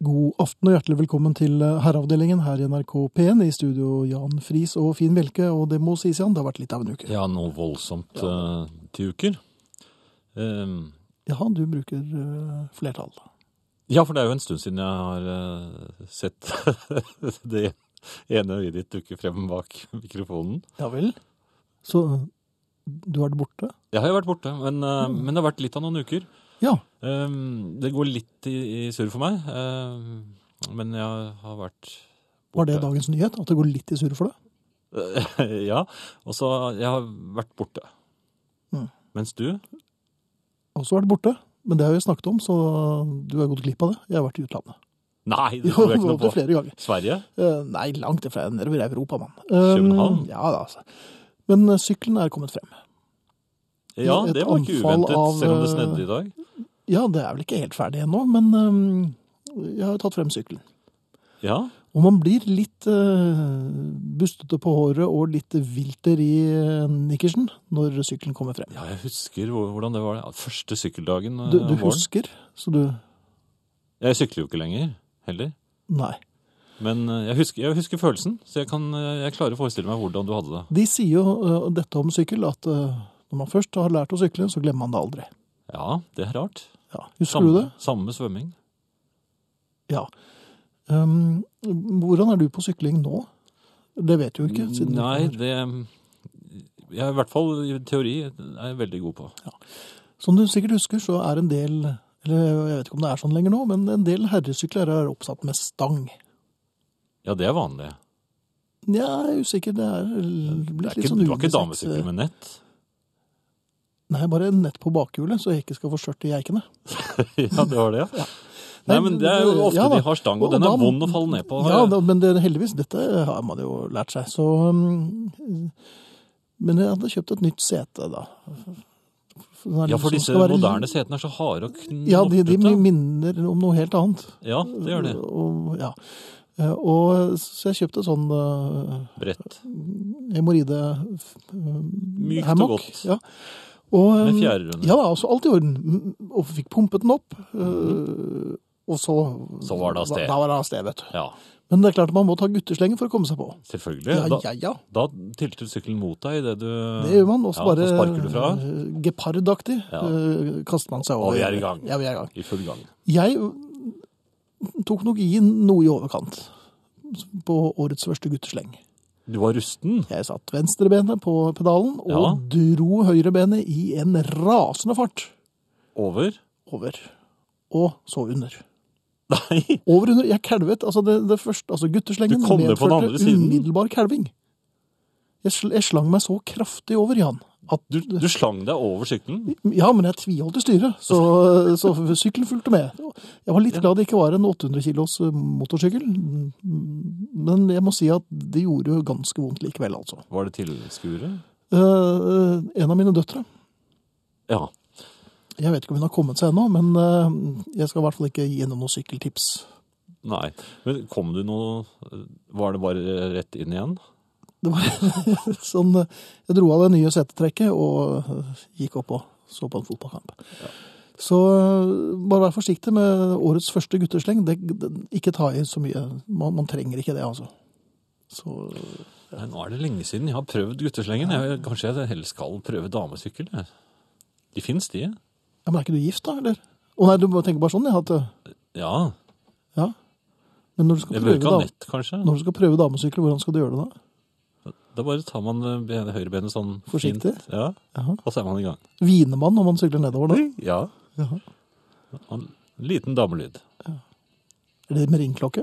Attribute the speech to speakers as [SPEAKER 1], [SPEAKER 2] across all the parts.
[SPEAKER 1] God aften og hjertelig velkommen til eh, Herreavdelingen her i NRK P1. I studio Jan Friis og Finn Bjelke. Og det må sies, Jan, det har vært litt av en uke.
[SPEAKER 2] Ja, noe voldsomt eh, til uker. Ehm,
[SPEAKER 1] Jaha, du bruker eh, flertall.
[SPEAKER 2] ja, for det er jo en stund siden jeg har eh, sett det ene øyet ditt dukke frem bak mikrofonen.
[SPEAKER 1] Ja vel. Så eh, du har det borte?
[SPEAKER 2] Jeg har jo vært borte, men, eh,
[SPEAKER 1] Mm.
[SPEAKER 2] men det har vært litt av noen uker.
[SPEAKER 1] Ja.
[SPEAKER 2] Ehm, det går litt i, i surr for meg, ehm, men jeg har vært
[SPEAKER 1] Var
[SPEAKER 2] borte.
[SPEAKER 1] det dagens nyhet? At det går litt i surr for deg?
[SPEAKER 2] ja, og så jeg har vært borte.
[SPEAKER 1] Mm.
[SPEAKER 2] Mens du?
[SPEAKER 1] Også vært borte. Men det har vi snakket om, så du har gått glipp av det. Jeg har vært i utlandet.
[SPEAKER 2] Nei, det
[SPEAKER 1] Jo,
[SPEAKER 2] tror jeg
[SPEAKER 1] opptil
[SPEAKER 2] ikke noe på.
[SPEAKER 1] flere ganger.
[SPEAKER 2] Sverige?
[SPEAKER 1] Eh, Nei, langt ifra. Jeg er Nedover i Europa, mann. Eh,
[SPEAKER 2] København?
[SPEAKER 1] Ja da, altså. Men eh, sykkelen er kommet frem.
[SPEAKER 2] Ja,
[SPEAKER 1] Et
[SPEAKER 2] det var ikke
[SPEAKER 1] anfall
[SPEAKER 2] uventet,
[SPEAKER 1] av,
[SPEAKER 2] selv om det
[SPEAKER 1] eh,
[SPEAKER 2] snedde i dag.
[SPEAKER 1] Ja, det er vel ikke helt ferdig ennå, men øhm, jeg har tatt frem sykkelen.
[SPEAKER 2] Ja,
[SPEAKER 1] Og man blir litt øh, bustete på håret og litt vilter i øh, nikkersen når sykkelen kommer frem.
[SPEAKER 2] Ja, jeg husker hvor- hvordan det var. Ja, Første sykkeldagen eh,
[SPEAKER 1] Du, du
[SPEAKER 2] om våren.
[SPEAKER 1] husker, så du
[SPEAKER 2] Jeg sykler jo ikke lenger, heller.
[SPEAKER 1] Nei.
[SPEAKER 2] Men eh, jeg husker, jeg husker følelsen, så jeg, kan, eh, jeg klarer å forestille meg hvordan du hadde det.
[SPEAKER 1] De sier jo øh, dette om sykkel, at øh, når man først har lært å sykle, så glemmer man det aldri.
[SPEAKER 2] Ja, det er rart.
[SPEAKER 1] Ja, husker
[SPEAKER 2] Samme,
[SPEAKER 1] du det?
[SPEAKER 2] samme med svømming.
[SPEAKER 1] Ja. Øhm, hvordan er du på sykling nå? Det vet du jo ikke. siden du
[SPEAKER 2] Nei,
[SPEAKER 1] kommer.
[SPEAKER 2] det Jeg er i hvert fall i teori er jeg veldig god på.
[SPEAKER 1] Som du sikkert husker, så er en del eller jeg vet ikke om det er sånn lenger nå, men en del herresykler er oppsatt med stang.
[SPEAKER 2] Ja, det er vanlig.
[SPEAKER 1] Nja, jeg er usikker. Det er
[SPEAKER 2] Det
[SPEAKER 1] blitt
[SPEAKER 2] er
[SPEAKER 1] litt
[SPEAKER 2] ikke,
[SPEAKER 1] sånn
[SPEAKER 2] du har ikke
[SPEAKER 1] unisex.
[SPEAKER 2] damesykkel med nett?
[SPEAKER 1] Nei, bare nett på bakhjulet, så jeg ikke skal få skjørt i eikene.
[SPEAKER 2] ja, du har det? ja. Nei, men det er jo ofte
[SPEAKER 1] Ja, da.
[SPEAKER 2] de har stang, og den er
[SPEAKER 1] da-
[SPEAKER 2] vond å falle ned på.
[SPEAKER 1] Ja, da, men det, heldigvis, dette har man jo lært seg, så um, Men jeg hadde kjøpt et nytt sete, da. Den er
[SPEAKER 2] ja, for
[SPEAKER 1] liksom-
[SPEAKER 2] disse
[SPEAKER 1] skal være-
[SPEAKER 2] moderne setene er så harde og
[SPEAKER 1] Ja, de, de
[SPEAKER 2] knottete.
[SPEAKER 1] minner om noe helt annet.
[SPEAKER 2] Ja, det gjør det.
[SPEAKER 1] Og, ja. Eh, Og, så jeg kjøpte sånn uh,
[SPEAKER 2] Brett.
[SPEAKER 1] hemoroide
[SPEAKER 2] Mykt og
[SPEAKER 1] hammock.
[SPEAKER 2] godt.
[SPEAKER 1] Ja. Og,
[SPEAKER 2] Med
[SPEAKER 1] um,
[SPEAKER 2] fjærer under.
[SPEAKER 1] Ja, da, altså alt i orden. Mm, Og fikk pumpet den opp. øh, Og så
[SPEAKER 2] Mhm. Så var det av sted.
[SPEAKER 1] Da var det av sted, vet du.
[SPEAKER 2] Ja,
[SPEAKER 1] Men det er klart man må ta gutteslengen for å komme seg på.
[SPEAKER 2] selvfølgelig.
[SPEAKER 1] Ja,
[SPEAKER 2] Da-
[SPEAKER 1] ja, ja.
[SPEAKER 2] Da tilter sykkelen mot deg idet du
[SPEAKER 1] Det gjør man. Og så
[SPEAKER 2] ja,
[SPEAKER 1] bare
[SPEAKER 2] Så sparker du fra.
[SPEAKER 1] øh, gepardaktig
[SPEAKER 2] Ja.
[SPEAKER 1] øh, kaster man seg over.
[SPEAKER 2] Og vi er i gang.
[SPEAKER 1] Ja, vi er i gang.
[SPEAKER 2] I full gang.
[SPEAKER 1] Jeg tok nok i noe i overkant på årets første guttesleng.
[SPEAKER 2] Du var rusten.
[SPEAKER 1] Jeg satt venstrebenet på pedalen og dro høyrebenet i en rasende fart
[SPEAKER 2] Over.
[SPEAKER 1] over. Og så under.
[SPEAKER 2] Nei!
[SPEAKER 1] Over under. Jeg kalvet. Altså, det, det første, altså gutteslengen
[SPEAKER 2] Du kom ned på den andre siden.
[SPEAKER 1] umiddelbar kalving. Jeg, sl jeg slang meg så kraftig over, Jan. At,
[SPEAKER 2] Du, du slang deg over sykkelen.
[SPEAKER 1] ja, men jeg tviholdt i styret, så, så sykkelen fulgte med. Jeg var litt glad det ikke var en 800 kilos eh, motorsykkel, men jeg må si at det gjorde ganske vondt likevel, altså.
[SPEAKER 2] Var det tilskuere?
[SPEAKER 1] Eh, en av mine døtre.
[SPEAKER 2] Ja.
[SPEAKER 1] Jeg vet ikke om hun har kommet seg ennå, men eh, jeg skal i hvert fall ikke gi henne noen sykkeltips.
[SPEAKER 2] Nei. Men kom du noe Var det bare rett inn igjen?
[SPEAKER 1] Det var sånn eh, Jeg dro av det nye setetrekket og eh, gikk opp og så på en fotballkamp. Så eh, bare vær forsiktig med årets første guttesleng. Det, det, ikke ta i så mye. Man, man trenger ikke det, altså. Så
[SPEAKER 2] Nei, nå er det lenge siden jeg har prøvd gutteslengen. Jeg, kanskje jeg heller skal prøve damesykkel. jeg. De fins, de.
[SPEAKER 1] Ja, Men er ikke du gift, da? Eller? Å nei, du bare tenker bare sånn, ja. At, eh,
[SPEAKER 2] Ja.
[SPEAKER 1] ja. Men når du, skal
[SPEAKER 2] Jeg bør
[SPEAKER 1] prøve,
[SPEAKER 2] ikke ha
[SPEAKER 1] dam-
[SPEAKER 2] nett, kanskje.
[SPEAKER 1] når du skal prøve damesykkel, hvordan skal du gjøre det da?
[SPEAKER 2] Da bare tar man eh, ben- høyrebenet sånn
[SPEAKER 1] Forsiktig?
[SPEAKER 2] fint. Ja.
[SPEAKER 1] Jaha.
[SPEAKER 2] Og så er man i gang.
[SPEAKER 1] Hviner man når man sykler nedover da?
[SPEAKER 2] Ja.
[SPEAKER 1] Jaha.
[SPEAKER 2] Og En liten damelyd.
[SPEAKER 1] Er det med ringklokke?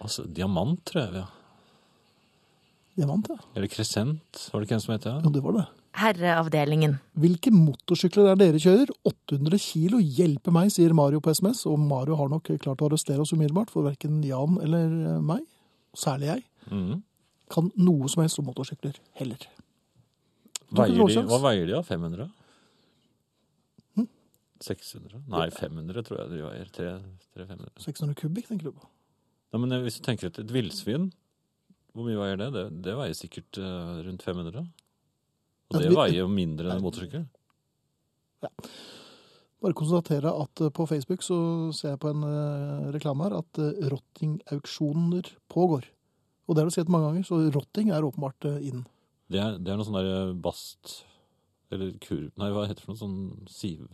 [SPEAKER 2] Altså, diamant, tror jeg. Ja.
[SPEAKER 1] Diamant, ja.
[SPEAKER 2] Eller kresent, var det ikke en som het det?
[SPEAKER 1] Ja, det var det.
[SPEAKER 3] Herreavdelingen.
[SPEAKER 1] Hvilke motorsykler er dere kjører? 800 kilo, hjelpe meg, sier Mario på SMS. Og Mario har nok klart å arrestere oss umiddelbart, for verken Jan eller eh, meg, og særlig jeg,
[SPEAKER 2] Mhm.
[SPEAKER 1] kan noe som helst om motorsykler heller. Tok du
[SPEAKER 2] Veier de,
[SPEAKER 1] råsjans?
[SPEAKER 2] hva veier de av? 500? 600? Nei, 500 tror jeg de veier. 300-500.
[SPEAKER 1] 600 kubikk, tenker du på?
[SPEAKER 2] Nei, men hvis du tenker at et villsvin, hvor mye veier det? Det, det veier sikkert eh, rundt 500. Og
[SPEAKER 1] Et
[SPEAKER 2] det
[SPEAKER 1] vi-
[SPEAKER 2] veier jo mindre enn en motorsykkel.
[SPEAKER 1] Bare konstatere at eh, på Facebook så ser jeg på en eh, reklame her at eh, rottingauksjoner pågår. Og det har du sett mange ganger, så rotting er åpenbart eh, inn.
[SPEAKER 2] Det er, det er noe sånn der eh, bast Eller kurv Nei, hva heter det for noe? Sånn siv...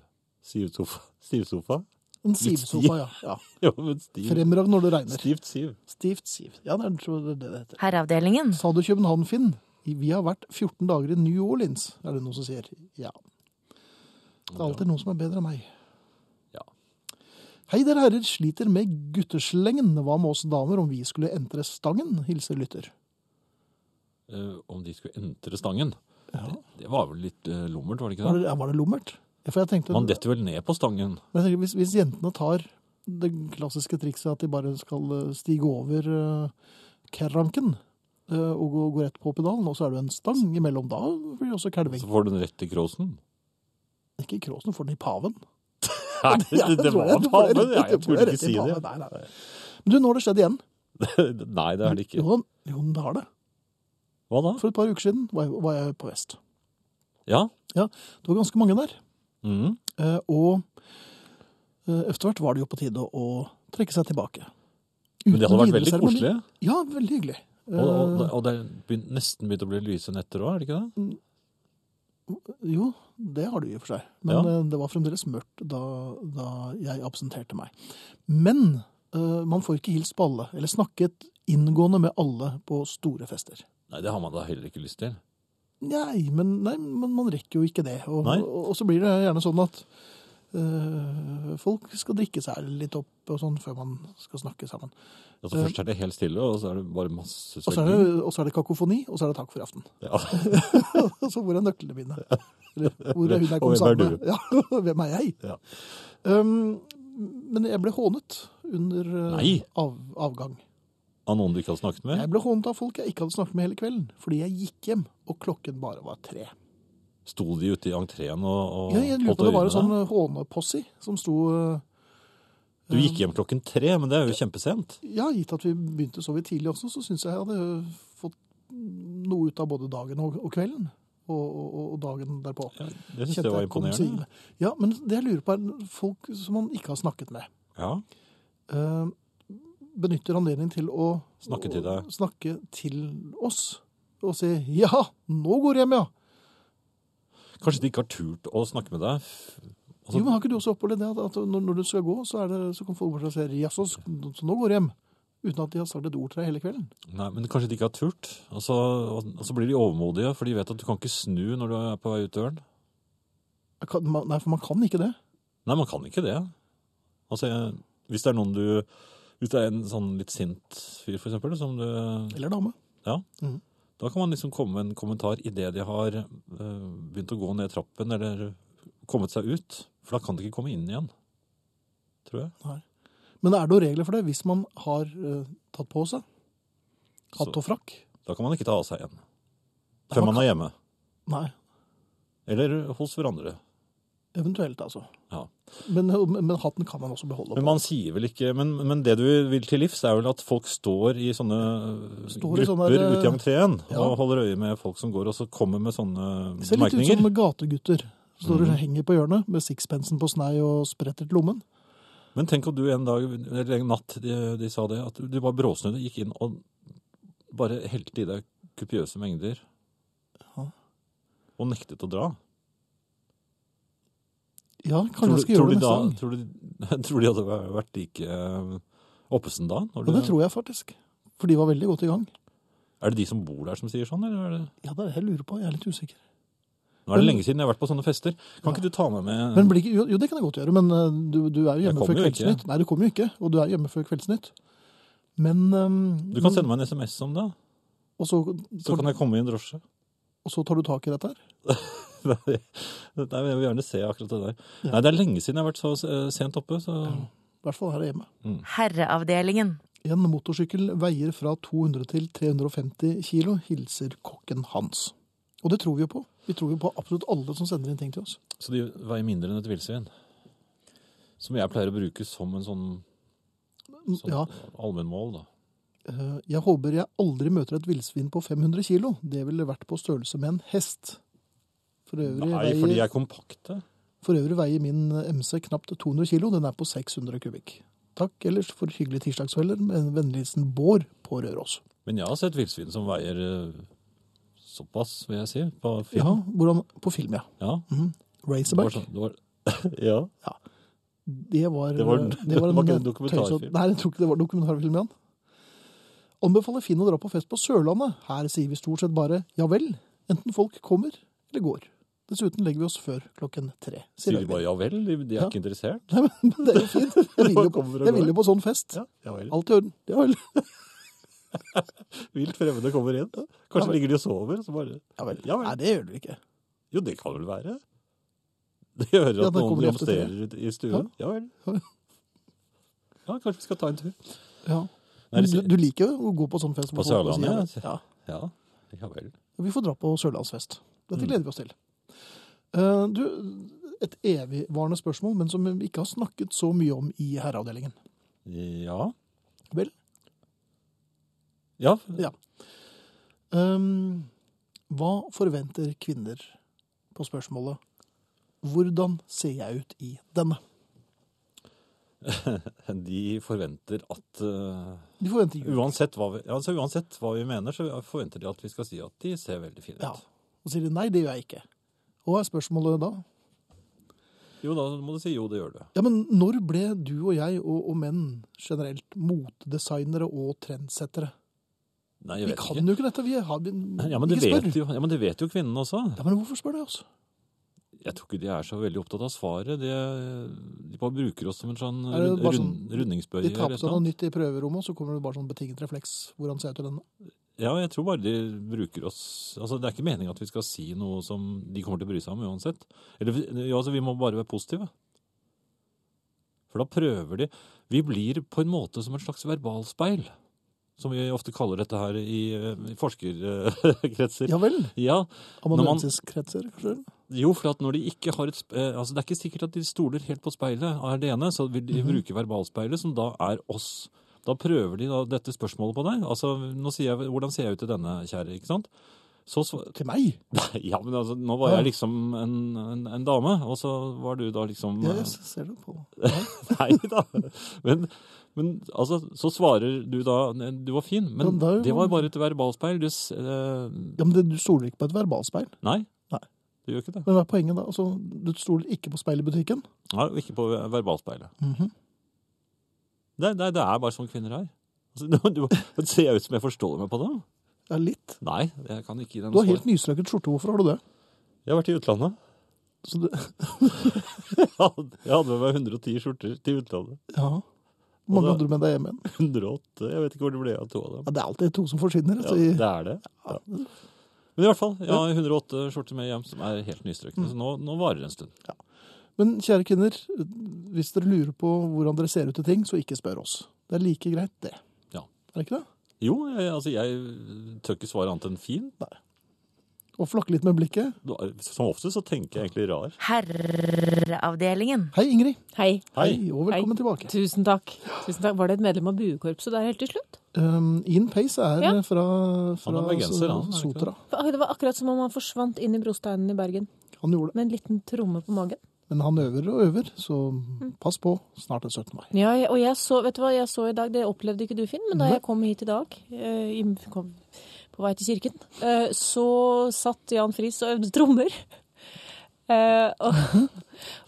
[SPEAKER 2] Sivsofa? Stivsofa?
[SPEAKER 1] En
[SPEAKER 2] Litt stiv.
[SPEAKER 1] sivsofa, ja. ja.
[SPEAKER 2] Jo, men stiv.
[SPEAKER 1] Fremrav når det regner.
[SPEAKER 2] Stivt siv.
[SPEAKER 1] Stivt siv. Ja, det er tror jeg det er det det heter.
[SPEAKER 3] Herreavdelingen.
[SPEAKER 1] Sa du København, Finn? Vi har vært 14 dager i New Orleans, er det noen som sier. Ja. Det er alltid noen som er bedre enn meg.
[SPEAKER 2] Ja.
[SPEAKER 1] Hei, dere herrer sliter med gutteslengen. Hva med oss damer om vi skulle entre stangen? Hilser lytter.
[SPEAKER 2] Eh, om de skulle entre stangen.
[SPEAKER 1] Ja.
[SPEAKER 2] Det var vel litt eh, lummert, var det ikke
[SPEAKER 1] Var,
[SPEAKER 2] det?
[SPEAKER 1] det, var det lummert? Ja, for jeg tenkte,
[SPEAKER 2] Man detter vel ned på stangen.
[SPEAKER 1] men jeg tenker, hvis, hvis jentene tar det klassiske trikset at de bare skal eh, stige over uh, kerranken eh, og gå, gå rett på pedalen, og så er det jo en stang imellom, da blir det også
[SPEAKER 2] Så
[SPEAKER 1] kelving.
[SPEAKER 2] får du den rett i kråsen.
[SPEAKER 1] Ikke i kråsen, får den i paven.
[SPEAKER 2] Nei, det, det, det
[SPEAKER 1] tror
[SPEAKER 2] var
[SPEAKER 1] jeg. Du får
[SPEAKER 2] paven!
[SPEAKER 1] rett-
[SPEAKER 2] Jeg, jeg
[SPEAKER 1] du får
[SPEAKER 2] burde
[SPEAKER 1] rett
[SPEAKER 2] ikke
[SPEAKER 1] i
[SPEAKER 2] si det.
[SPEAKER 1] paven. Nei, nei. Men du, nå har det skjedd igjen.
[SPEAKER 2] Nei, det er det ikke.
[SPEAKER 1] Jo, jo, men det har det.
[SPEAKER 2] Hva da?
[SPEAKER 1] For et par uker siden var jeg, var jeg på Vest.
[SPEAKER 2] Ja?
[SPEAKER 1] Det var ganske mange der.
[SPEAKER 2] Mhm.
[SPEAKER 1] Eh, og eh, etter hvert var det jo på tide å trekke seg tilbake.
[SPEAKER 2] Men det hadde
[SPEAKER 1] Uten
[SPEAKER 2] vært veldig
[SPEAKER 1] videre seremoni.
[SPEAKER 2] koselig.
[SPEAKER 1] Ja, veldig hyggelig. Eh,
[SPEAKER 2] Og, og, og det er begynt, nesten begynt å bli lyse netter òg, er det ikke det?
[SPEAKER 1] jo, det har du i og for seg. Men
[SPEAKER 2] Ja.
[SPEAKER 1] eh, det var fremdeles mørkt da, da jeg absenterte meg. Men eh, man får ikke hilst på alle, eller snakket inngående med alle på store fester.
[SPEAKER 2] Nei, det har man da heller ikke lyst til.
[SPEAKER 1] Nei, men nei, men man rekker jo ikke det. Og,
[SPEAKER 2] Nei.
[SPEAKER 1] og, og så blir det gjerne sånn at eh, folk skal drikke seg litt opp og sånn før man skal snakke sammen.
[SPEAKER 2] Altså, først er det helt stille, og så er det bare masse
[SPEAKER 1] Eh. Og så er
[SPEAKER 2] svelging.
[SPEAKER 1] det, og så er det kakofoni, og så er det takk for aften.
[SPEAKER 2] Ja.
[SPEAKER 1] Og så hvor er nøklene mine? Eller hvor er hun jeg
[SPEAKER 2] Og
[SPEAKER 1] kom
[SPEAKER 2] hvem er
[SPEAKER 1] sammen med? Ja, hvem er jeg?
[SPEAKER 2] Ja.
[SPEAKER 1] Um, men jeg ble hånet under eh,
[SPEAKER 2] Nei.
[SPEAKER 1] av, avgang.
[SPEAKER 2] Av noen du ikke har snakket med?
[SPEAKER 1] Jeg ble hånet av folk jeg ikke hadde snakket med hele kvelden, fordi jeg gikk hjem, og klokken bare var tre.
[SPEAKER 2] Sto de ute i entreen og, og
[SPEAKER 1] Ja, jeg lurer
[SPEAKER 2] holdt
[SPEAKER 1] på om det var en
[SPEAKER 2] øye med
[SPEAKER 1] sånn
[SPEAKER 2] deg?
[SPEAKER 1] hånepossi som sto eh,
[SPEAKER 2] Du gikk hjem klokken tre, men det er jo kjempesent.
[SPEAKER 1] Ja, gitt at vi begynte så vidt tidlig også, så syns jeg jeg hadde fått noe ut av både dagen og, og kvelden. Og, og, og dagen derpå.
[SPEAKER 2] Ja, jeg syns det var
[SPEAKER 1] jeg kom seg
[SPEAKER 2] imponerende.
[SPEAKER 1] ille. Ja, men det jeg lurer på er folk som han ikke har snakket med.
[SPEAKER 2] Ja.
[SPEAKER 1] eh, benytter anledningen til å
[SPEAKER 2] Snakke til deg.
[SPEAKER 1] å snakke til oss. Og si 'ja, nå går jeg hjem', ja.
[SPEAKER 2] Kanskje de ikke har turt å snakke med deg? Altså,
[SPEAKER 1] Jo, men Har ikke du også opplevd det? At at når, når du skal gå, så, er det, så kan folk bort og si 'jaså, så nå går jeg hjem'. Uten at de har sagt et ord til deg hele kvelden.
[SPEAKER 2] Nei, men kanskje de ikke har turt. Og så, og, og så blir de overmodige, for de vet at du kan ikke snu når du er på vei ut døren.
[SPEAKER 1] Jeg Kan, man, nei, for man kan ikke det.
[SPEAKER 2] Nei, man kan ikke det. Altså, jeg, hvis det er noen du Hvis det er en sånn litt sint fyr, for eksempel, som du
[SPEAKER 1] Eller dame.
[SPEAKER 2] Ja.
[SPEAKER 1] Mhm.
[SPEAKER 2] Da kan man liksom komme med en kommentar idet de har eh, begynt å gå ned trappen eller kommet seg ut. For da kan de ikke komme inn igjen. Tror jeg.
[SPEAKER 1] Men er det noen regler for det hvis man har eh, tatt på seg hatt
[SPEAKER 2] Så-
[SPEAKER 1] og frakk?
[SPEAKER 2] Da kan man ikke ta av seg igjen.
[SPEAKER 1] Nei,
[SPEAKER 2] Før
[SPEAKER 1] man
[SPEAKER 2] man er hjemme.
[SPEAKER 1] Nei,
[SPEAKER 2] Eller hos hverandre.
[SPEAKER 1] eventuelt altså.
[SPEAKER 2] Ja.
[SPEAKER 1] Men, eh, men hatten kan man også beholde.
[SPEAKER 2] Men man sier vel ikke Men, men det du vil til livs, er vel at folk står i sånne
[SPEAKER 1] Står i
[SPEAKER 2] grupper
[SPEAKER 1] sånne der,
[SPEAKER 2] ute i entreen
[SPEAKER 1] ja.
[SPEAKER 2] og holder øye med folk som går, og så kommer med sånne
[SPEAKER 1] Det ser litt ut
[SPEAKER 2] bemerkninger.
[SPEAKER 1] som gategutter. Står
[SPEAKER 2] Mhm.
[SPEAKER 1] og henger på hjørnet med sixpensen på snei og spretter til lommen.
[SPEAKER 2] Men tenk om du en dag, eller en natt, de, de sa det, at du bare bråsnudde, gikk inn og bare helte i deg kupiøse mengder.
[SPEAKER 1] Ja.
[SPEAKER 2] Og nektet å dra.
[SPEAKER 1] Ja,
[SPEAKER 2] Tror
[SPEAKER 1] kanskje
[SPEAKER 2] du,
[SPEAKER 1] jeg skal gjøre
[SPEAKER 2] tror,
[SPEAKER 1] det
[SPEAKER 2] de
[SPEAKER 1] neste
[SPEAKER 2] da,
[SPEAKER 1] gang.
[SPEAKER 2] tror, de, tror de hadde væ- vært like eh, oppesen da? Når
[SPEAKER 1] Ja, det
[SPEAKER 2] du-
[SPEAKER 1] tror jeg faktisk. For de var veldig godt i gang.
[SPEAKER 2] Er det de som bor der som sier sånn, eller er det
[SPEAKER 1] Ja, det er det jeg lurer på. Jeg er litt usikker.
[SPEAKER 2] Nå er det
[SPEAKER 1] Men-
[SPEAKER 2] lenge siden jeg har vært på sånne fester. Kan ikke du ta meg med
[SPEAKER 1] Men blir ikke, jo, jo, det kan jeg godt gjøre, men eh, du, du er jo hjemme
[SPEAKER 2] kommer
[SPEAKER 1] før
[SPEAKER 2] jo
[SPEAKER 1] Kveldsnytt. Nei, du kommer jo ikke, og du er hjemme før Kveldsnytt. Men ehm,
[SPEAKER 2] Du kan sende meg en SMS om det,
[SPEAKER 1] og, så,
[SPEAKER 2] så kan jeg komme i en drosje.
[SPEAKER 1] og så tar du tak i dette her?
[SPEAKER 2] Nei, jeg vil gjerne se akkurat det der. Nei, det er lenge siden jeg har vært så eh, sent oppe, så
[SPEAKER 1] I hvert fall her hjemme.
[SPEAKER 3] Herreavdelingen.
[SPEAKER 1] En motorsykkel veier fra 200 til 350 kilo, hilser kokken hans. Og det tror vi jo på. Vi tror jo på absolutt alle som sender inn ting til oss.
[SPEAKER 2] Så de veier mindre enn et villsvin. Som jeg pleier å bruke som en sånn, sånn
[SPEAKER 1] Ja,
[SPEAKER 2] allmennmål, da.
[SPEAKER 1] eh, jeg håper jeg aldri møter et villsvin på 500 kilo. Det ville vært på størrelse med en hest. For øvrig
[SPEAKER 2] Nei, for de
[SPEAKER 1] veier
[SPEAKER 2] er kompakte.
[SPEAKER 1] For øvrig veier min MC knapt 200 kilo, den er på 600 kubikk. Takk ellers for hyggelige tirsdagskvelder, med vennlig hilsen Bård på Røros.
[SPEAKER 2] Men jeg har sett villsvin som veier eh, såpass, vil jeg si, på
[SPEAKER 1] Ja,
[SPEAKER 2] film.
[SPEAKER 1] hvordan, på film, ja.
[SPEAKER 2] Ja. Det var
[SPEAKER 1] Racerback.
[SPEAKER 2] sånn, det var, ja.
[SPEAKER 1] Det var,
[SPEAKER 2] Det var- det var ikke en dokumentarfilm.
[SPEAKER 1] tøysete- Nei, jeg tror ikke det var dokumentarfilm igjen. Anbefaler Finn å dra på fest på Sørlandet. Her sier vi stort sett bare ja vel, enten folk kommer eller går. Dessuten legger vi oss før klokken tre.
[SPEAKER 2] Sier
[SPEAKER 1] Sier
[SPEAKER 2] de
[SPEAKER 1] Øyvind.
[SPEAKER 2] bare ja vel? De de er
[SPEAKER 1] Ja.
[SPEAKER 2] ikke interessert?
[SPEAKER 1] Nei, men, men det er jo fint. Jeg vil jo,
[SPEAKER 2] Kommer og
[SPEAKER 1] jeg vil
[SPEAKER 2] går.
[SPEAKER 1] jo på sånn fest.
[SPEAKER 2] Ja, ja vel.
[SPEAKER 1] Alt i orden. Ja vel.
[SPEAKER 2] Vilt fremmede kommer inn.
[SPEAKER 1] Ja
[SPEAKER 2] Kanskje
[SPEAKER 1] vel.
[SPEAKER 2] ligger de og sover, så bare
[SPEAKER 1] Ja vel.
[SPEAKER 2] Ja vel.
[SPEAKER 1] Nei, det gjør du ikke.
[SPEAKER 2] Jo, det kan vel være. De hører
[SPEAKER 1] Ja,
[SPEAKER 2] at
[SPEAKER 1] da
[SPEAKER 2] noen
[SPEAKER 1] kommer de etter
[SPEAKER 2] ramsterer ut i stuen. Ja vel. Ja, kanskje vi skal ta en tur.
[SPEAKER 1] Ja.
[SPEAKER 2] Nei,
[SPEAKER 1] Men
[SPEAKER 2] det
[SPEAKER 1] du,
[SPEAKER 2] sier-
[SPEAKER 1] du liker jo å gå på sånn fest. hvor
[SPEAKER 2] På
[SPEAKER 1] folk bare sier
[SPEAKER 2] Sørlandet,
[SPEAKER 1] ja vel.
[SPEAKER 2] ja.
[SPEAKER 1] Ja.
[SPEAKER 2] Ja, ja vel.
[SPEAKER 1] Vi får dra på sørlandsfest. Dette
[SPEAKER 2] Mm.
[SPEAKER 1] gleder vi oss til. Eh, Du, et evigvarende spørsmål, men som vi ikke har snakket så mye om i herreavdelingen.
[SPEAKER 2] Ja.
[SPEAKER 1] Vel?
[SPEAKER 2] Ja,
[SPEAKER 1] Ja. Um, hva forventer kvinner på spørsmålet 'Hvordan ser jeg ut i denne?'
[SPEAKER 2] de forventer at eh,
[SPEAKER 1] De forventer jo
[SPEAKER 2] uansett, hva vi, altså, uansett hva vi mener, så forventer de at vi skal si at de ser veldig fine ut.
[SPEAKER 1] Ja. Og sier de 'nei, det gjør jeg ikke'. Og hva er spørsmålet da?
[SPEAKER 2] Jo, da må du si jo, det gjør du.
[SPEAKER 1] Ja, men når ble du og jeg, og, og menn generelt, motedesignere og trendsettere?
[SPEAKER 2] Nei, jeg
[SPEAKER 1] Vi
[SPEAKER 2] vet
[SPEAKER 1] kan
[SPEAKER 2] ikke.
[SPEAKER 1] jo ikke dette, vi har vi,
[SPEAKER 2] Ja, men det
[SPEAKER 1] ikke
[SPEAKER 2] vet jo, ja, men det vet jo kvinnene også.
[SPEAKER 1] Ja, men hvorfor spør du oss?
[SPEAKER 2] Jeg tror ikke de er så veldig opptatt av svaret. De, de bare bruker oss som en sånn
[SPEAKER 1] Er det
[SPEAKER 2] rund,
[SPEAKER 1] bare sånn-
[SPEAKER 2] rundingsbøye.
[SPEAKER 1] De sånn? tar
[SPEAKER 2] eller
[SPEAKER 1] på seg noe
[SPEAKER 2] noe.
[SPEAKER 1] nytt i prøverommet, og så kommer det bare sånn betinget refleks. Hvordan ser jeg ut i denne?
[SPEAKER 2] Ja, jeg tror bare de bruker oss Altså, det er ikke meningen at vi skal si noe som de kommer til å bry seg om uansett. Eller, ja, altså, vi må bare være positive. For da prøver de Vi blir på en måte som en slags verbalspeil. Som vi ofte kaller dette her i, eh, i forskerkretser.
[SPEAKER 1] Ja vel?
[SPEAKER 2] ja. man-
[SPEAKER 1] Amanuensiskretser, kanskje?
[SPEAKER 2] Jo, for at når de ikke har et sp- eh, altså Det er ikke sikkert at de stoler helt på speilet alene, så vil de
[SPEAKER 1] Mhm.
[SPEAKER 2] bruke verbalspeilet, som da er oss. Da prøver de da dette spørsmålet på deg. Altså, nå sier jeg 'hvordan ser jeg ut i denne', kjære, ikke sant? Så sva-
[SPEAKER 1] Til meg?
[SPEAKER 2] Nei, ja, men altså, nå var jeg liksom en, en, en dame, og så var du da liksom
[SPEAKER 1] Ja,
[SPEAKER 2] eh,
[SPEAKER 1] jeg ser det på.
[SPEAKER 2] Nei da. Men, men altså, så svarer du da 'du var fin', men
[SPEAKER 1] Men da er jo-
[SPEAKER 2] det var bare et verbalspeil. Du, s- eh,
[SPEAKER 1] Ja, men det, Du stoler ikke på et verbalspeil.
[SPEAKER 2] nei,
[SPEAKER 1] Nei.
[SPEAKER 2] du gjør ikke det.
[SPEAKER 1] Men hva er poenget da? Altså, du stoler ikke på speil i butikken?
[SPEAKER 2] Nei, og ikke på verbalspeilet.
[SPEAKER 1] Mhm.
[SPEAKER 2] Nei, nei, det er bare sånn kvinner er. Altså, du, du, ser jeg ut som jeg forstår meg på det?
[SPEAKER 1] Ja, litt.
[SPEAKER 2] Nei, jeg kan ikke gi deg
[SPEAKER 1] Du
[SPEAKER 2] noe
[SPEAKER 1] har helt nystrøket skjorte. Hvorfor har du det?
[SPEAKER 2] Jeg har vært i utlandet.
[SPEAKER 1] Så du,
[SPEAKER 2] Jeg hadde jeg hadde med meg 110 skjorter til utlandet.
[SPEAKER 1] ja. Hvor mange
[SPEAKER 2] Og da-
[SPEAKER 1] hadde du med deg hjem igjen?
[SPEAKER 2] 108. Jeg vet ikke hvor det ble av to av dem.
[SPEAKER 1] Ja, Det er alltid to som forsvinner.
[SPEAKER 2] Ja,
[SPEAKER 1] altså, i-
[SPEAKER 2] det er det. Ja. Men i hvert fall, jeg har 108 skjorter med hjem som er helt nystrøkne. Så nå, nå varer det en stund.
[SPEAKER 1] Men kjære kvinner, hvis dere lurer på hvordan dere ser ut til ting, så ikke spør oss. Det er like greit, det.
[SPEAKER 2] Ja.
[SPEAKER 1] Er det ikke det?
[SPEAKER 2] Jo, jeg, altså, jeg tør ikke svare annet enn fin.
[SPEAKER 1] Og flakke litt med blikket.
[SPEAKER 2] Som ofte så tenker jeg egentlig rar.
[SPEAKER 3] Herreavdelingen.
[SPEAKER 1] Hei, Ingrid.
[SPEAKER 4] Hei.
[SPEAKER 2] Hei.
[SPEAKER 1] og velkommen
[SPEAKER 4] Hei.
[SPEAKER 1] tilbake.
[SPEAKER 4] Tusen takk. Tusen takk. Var det et medlem av buekorpset der helt til slutt?
[SPEAKER 1] Um, Ian Pace er
[SPEAKER 4] Ja.
[SPEAKER 1] fra, fra
[SPEAKER 2] Han er bergenser, han, er det ikke
[SPEAKER 1] Sotra.
[SPEAKER 4] For Det var akkurat som om han forsvant inn i brosteinen i Bergen
[SPEAKER 1] Han gjorde det.
[SPEAKER 4] med en liten tromme på magen.
[SPEAKER 1] Men han øver og øver, så
[SPEAKER 4] Mm.
[SPEAKER 1] pass på. Snart er 17. mai.
[SPEAKER 4] Ja, jeg- og jeg så, vet du hva jeg så i dag? Det opplevde ikke du, Finn, men da
[SPEAKER 1] Nei.
[SPEAKER 4] jeg kom hit i dag, eh, i- kom på vei til kirken, eh, så satt Jan Friis og øvde trommer. Eh, og,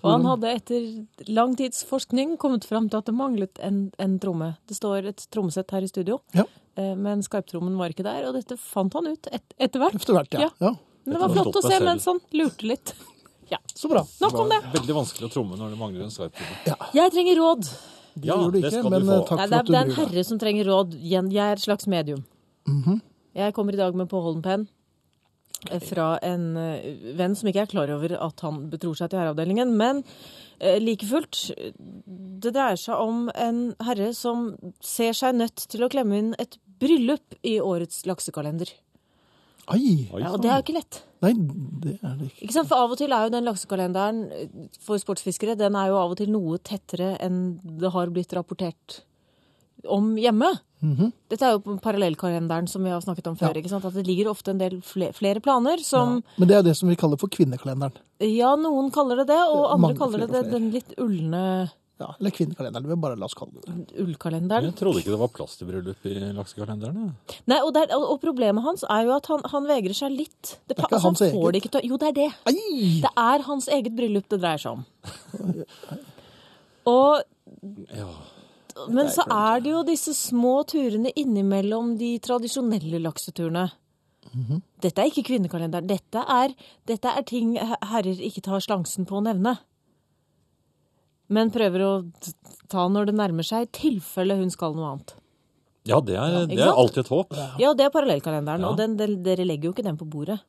[SPEAKER 4] og han hadde etter lang tids forskning kommet fram til at det manglet en, en tromme. Det står et trommesett her i studio,
[SPEAKER 1] Ja.
[SPEAKER 4] eh, men skarptrommen var ikke der, og dette fant han ut et, etter hvert.
[SPEAKER 1] Etter hvert, ja.
[SPEAKER 4] Ja.
[SPEAKER 1] ja.
[SPEAKER 4] Men det
[SPEAKER 2] Dette
[SPEAKER 4] var
[SPEAKER 2] har du
[SPEAKER 4] flott å
[SPEAKER 2] forstått
[SPEAKER 4] se
[SPEAKER 2] deg
[SPEAKER 4] mens han lurte litt.
[SPEAKER 1] Så bra.
[SPEAKER 4] Nok om det.
[SPEAKER 2] Veldig vanskelig å tromme når det mangler en skarp tromme.
[SPEAKER 4] Jeg trenger råd.
[SPEAKER 1] Det
[SPEAKER 2] Ja,
[SPEAKER 1] gjør du
[SPEAKER 2] det
[SPEAKER 1] ikke,
[SPEAKER 2] skal du
[SPEAKER 1] men
[SPEAKER 2] få.
[SPEAKER 1] eh, takk for
[SPEAKER 4] Nei, det,
[SPEAKER 1] at
[SPEAKER 4] er,
[SPEAKER 1] du
[SPEAKER 4] det er en
[SPEAKER 1] bryr deg.
[SPEAKER 4] herre som trenger råd. Jeg jeg er et slags medium.
[SPEAKER 1] Mhm.
[SPEAKER 4] Jeg kommer i dag med påholden penn eh, fra en eh, venn som ikke er klar over at han betror seg til herreavdelingen. Men eh, like fullt, eh, det dreier seg om en herre som ser seg nødt til å klemme inn et bryllup i årets laksekalender.
[SPEAKER 1] Ai!
[SPEAKER 2] Oi,
[SPEAKER 4] Ja,
[SPEAKER 1] sånn.
[SPEAKER 4] og
[SPEAKER 2] sann.
[SPEAKER 4] det er jo ikke lett.
[SPEAKER 1] Nei, det er det ikke.
[SPEAKER 4] Ikke sant? For av og til er jo den laksekalenderen eh, for sportsfiskere den er jo av og til noe tettere enn det har blitt rapportert om hjemme.
[SPEAKER 1] Mhm.
[SPEAKER 4] Dette er jo parallellkalenderen som vi har snakket om før. ikke sant? At det ligger ofte en del fle- flere planer som
[SPEAKER 1] Men det er det som vi kaller for kvinnekalenderen.
[SPEAKER 4] ja. noen kaller det det, og
[SPEAKER 1] Ja,
[SPEAKER 4] andre
[SPEAKER 1] mange
[SPEAKER 4] kaller det
[SPEAKER 1] flere og
[SPEAKER 4] det
[SPEAKER 1] flere.
[SPEAKER 4] den litt ulne
[SPEAKER 1] Ja, eller kvinnekalenderen. Vi bare la oss kalle det det.
[SPEAKER 4] ullkalenderen.
[SPEAKER 2] Jeg trodde ikke det var plass til bryllup i laksekalenderen. jeg.
[SPEAKER 4] Nei, og, der, og og problemet hans er jo at han, han vegrer seg litt. Det,
[SPEAKER 1] er
[SPEAKER 4] pa- altså,
[SPEAKER 1] ikke hans
[SPEAKER 4] han får
[SPEAKER 1] eget.
[SPEAKER 4] det ikke til å- Jo, det er det.
[SPEAKER 1] Ai!
[SPEAKER 4] Det er hans eget bryllup det dreier seg om. Og,
[SPEAKER 2] Ja.
[SPEAKER 4] men så er det jo disse små turene innimellom de tradisjonelle lakseturene. Dette er ikke kvinnekalenderen. Dette er, dette er ting he- herrer ikke tar sjansen på å nevne. Men prøver å t- ta når det nærmer seg, i tilfelle hun skal noe annet.
[SPEAKER 2] Ja, det er, det er
[SPEAKER 4] sant?
[SPEAKER 2] alltid et håp.
[SPEAKER 4] Ja, det er parallellkalenderen,
[SPEAKER 2] Ja.
[SPEAKER 4] og den, den, dere legger jo ikke den på bordet.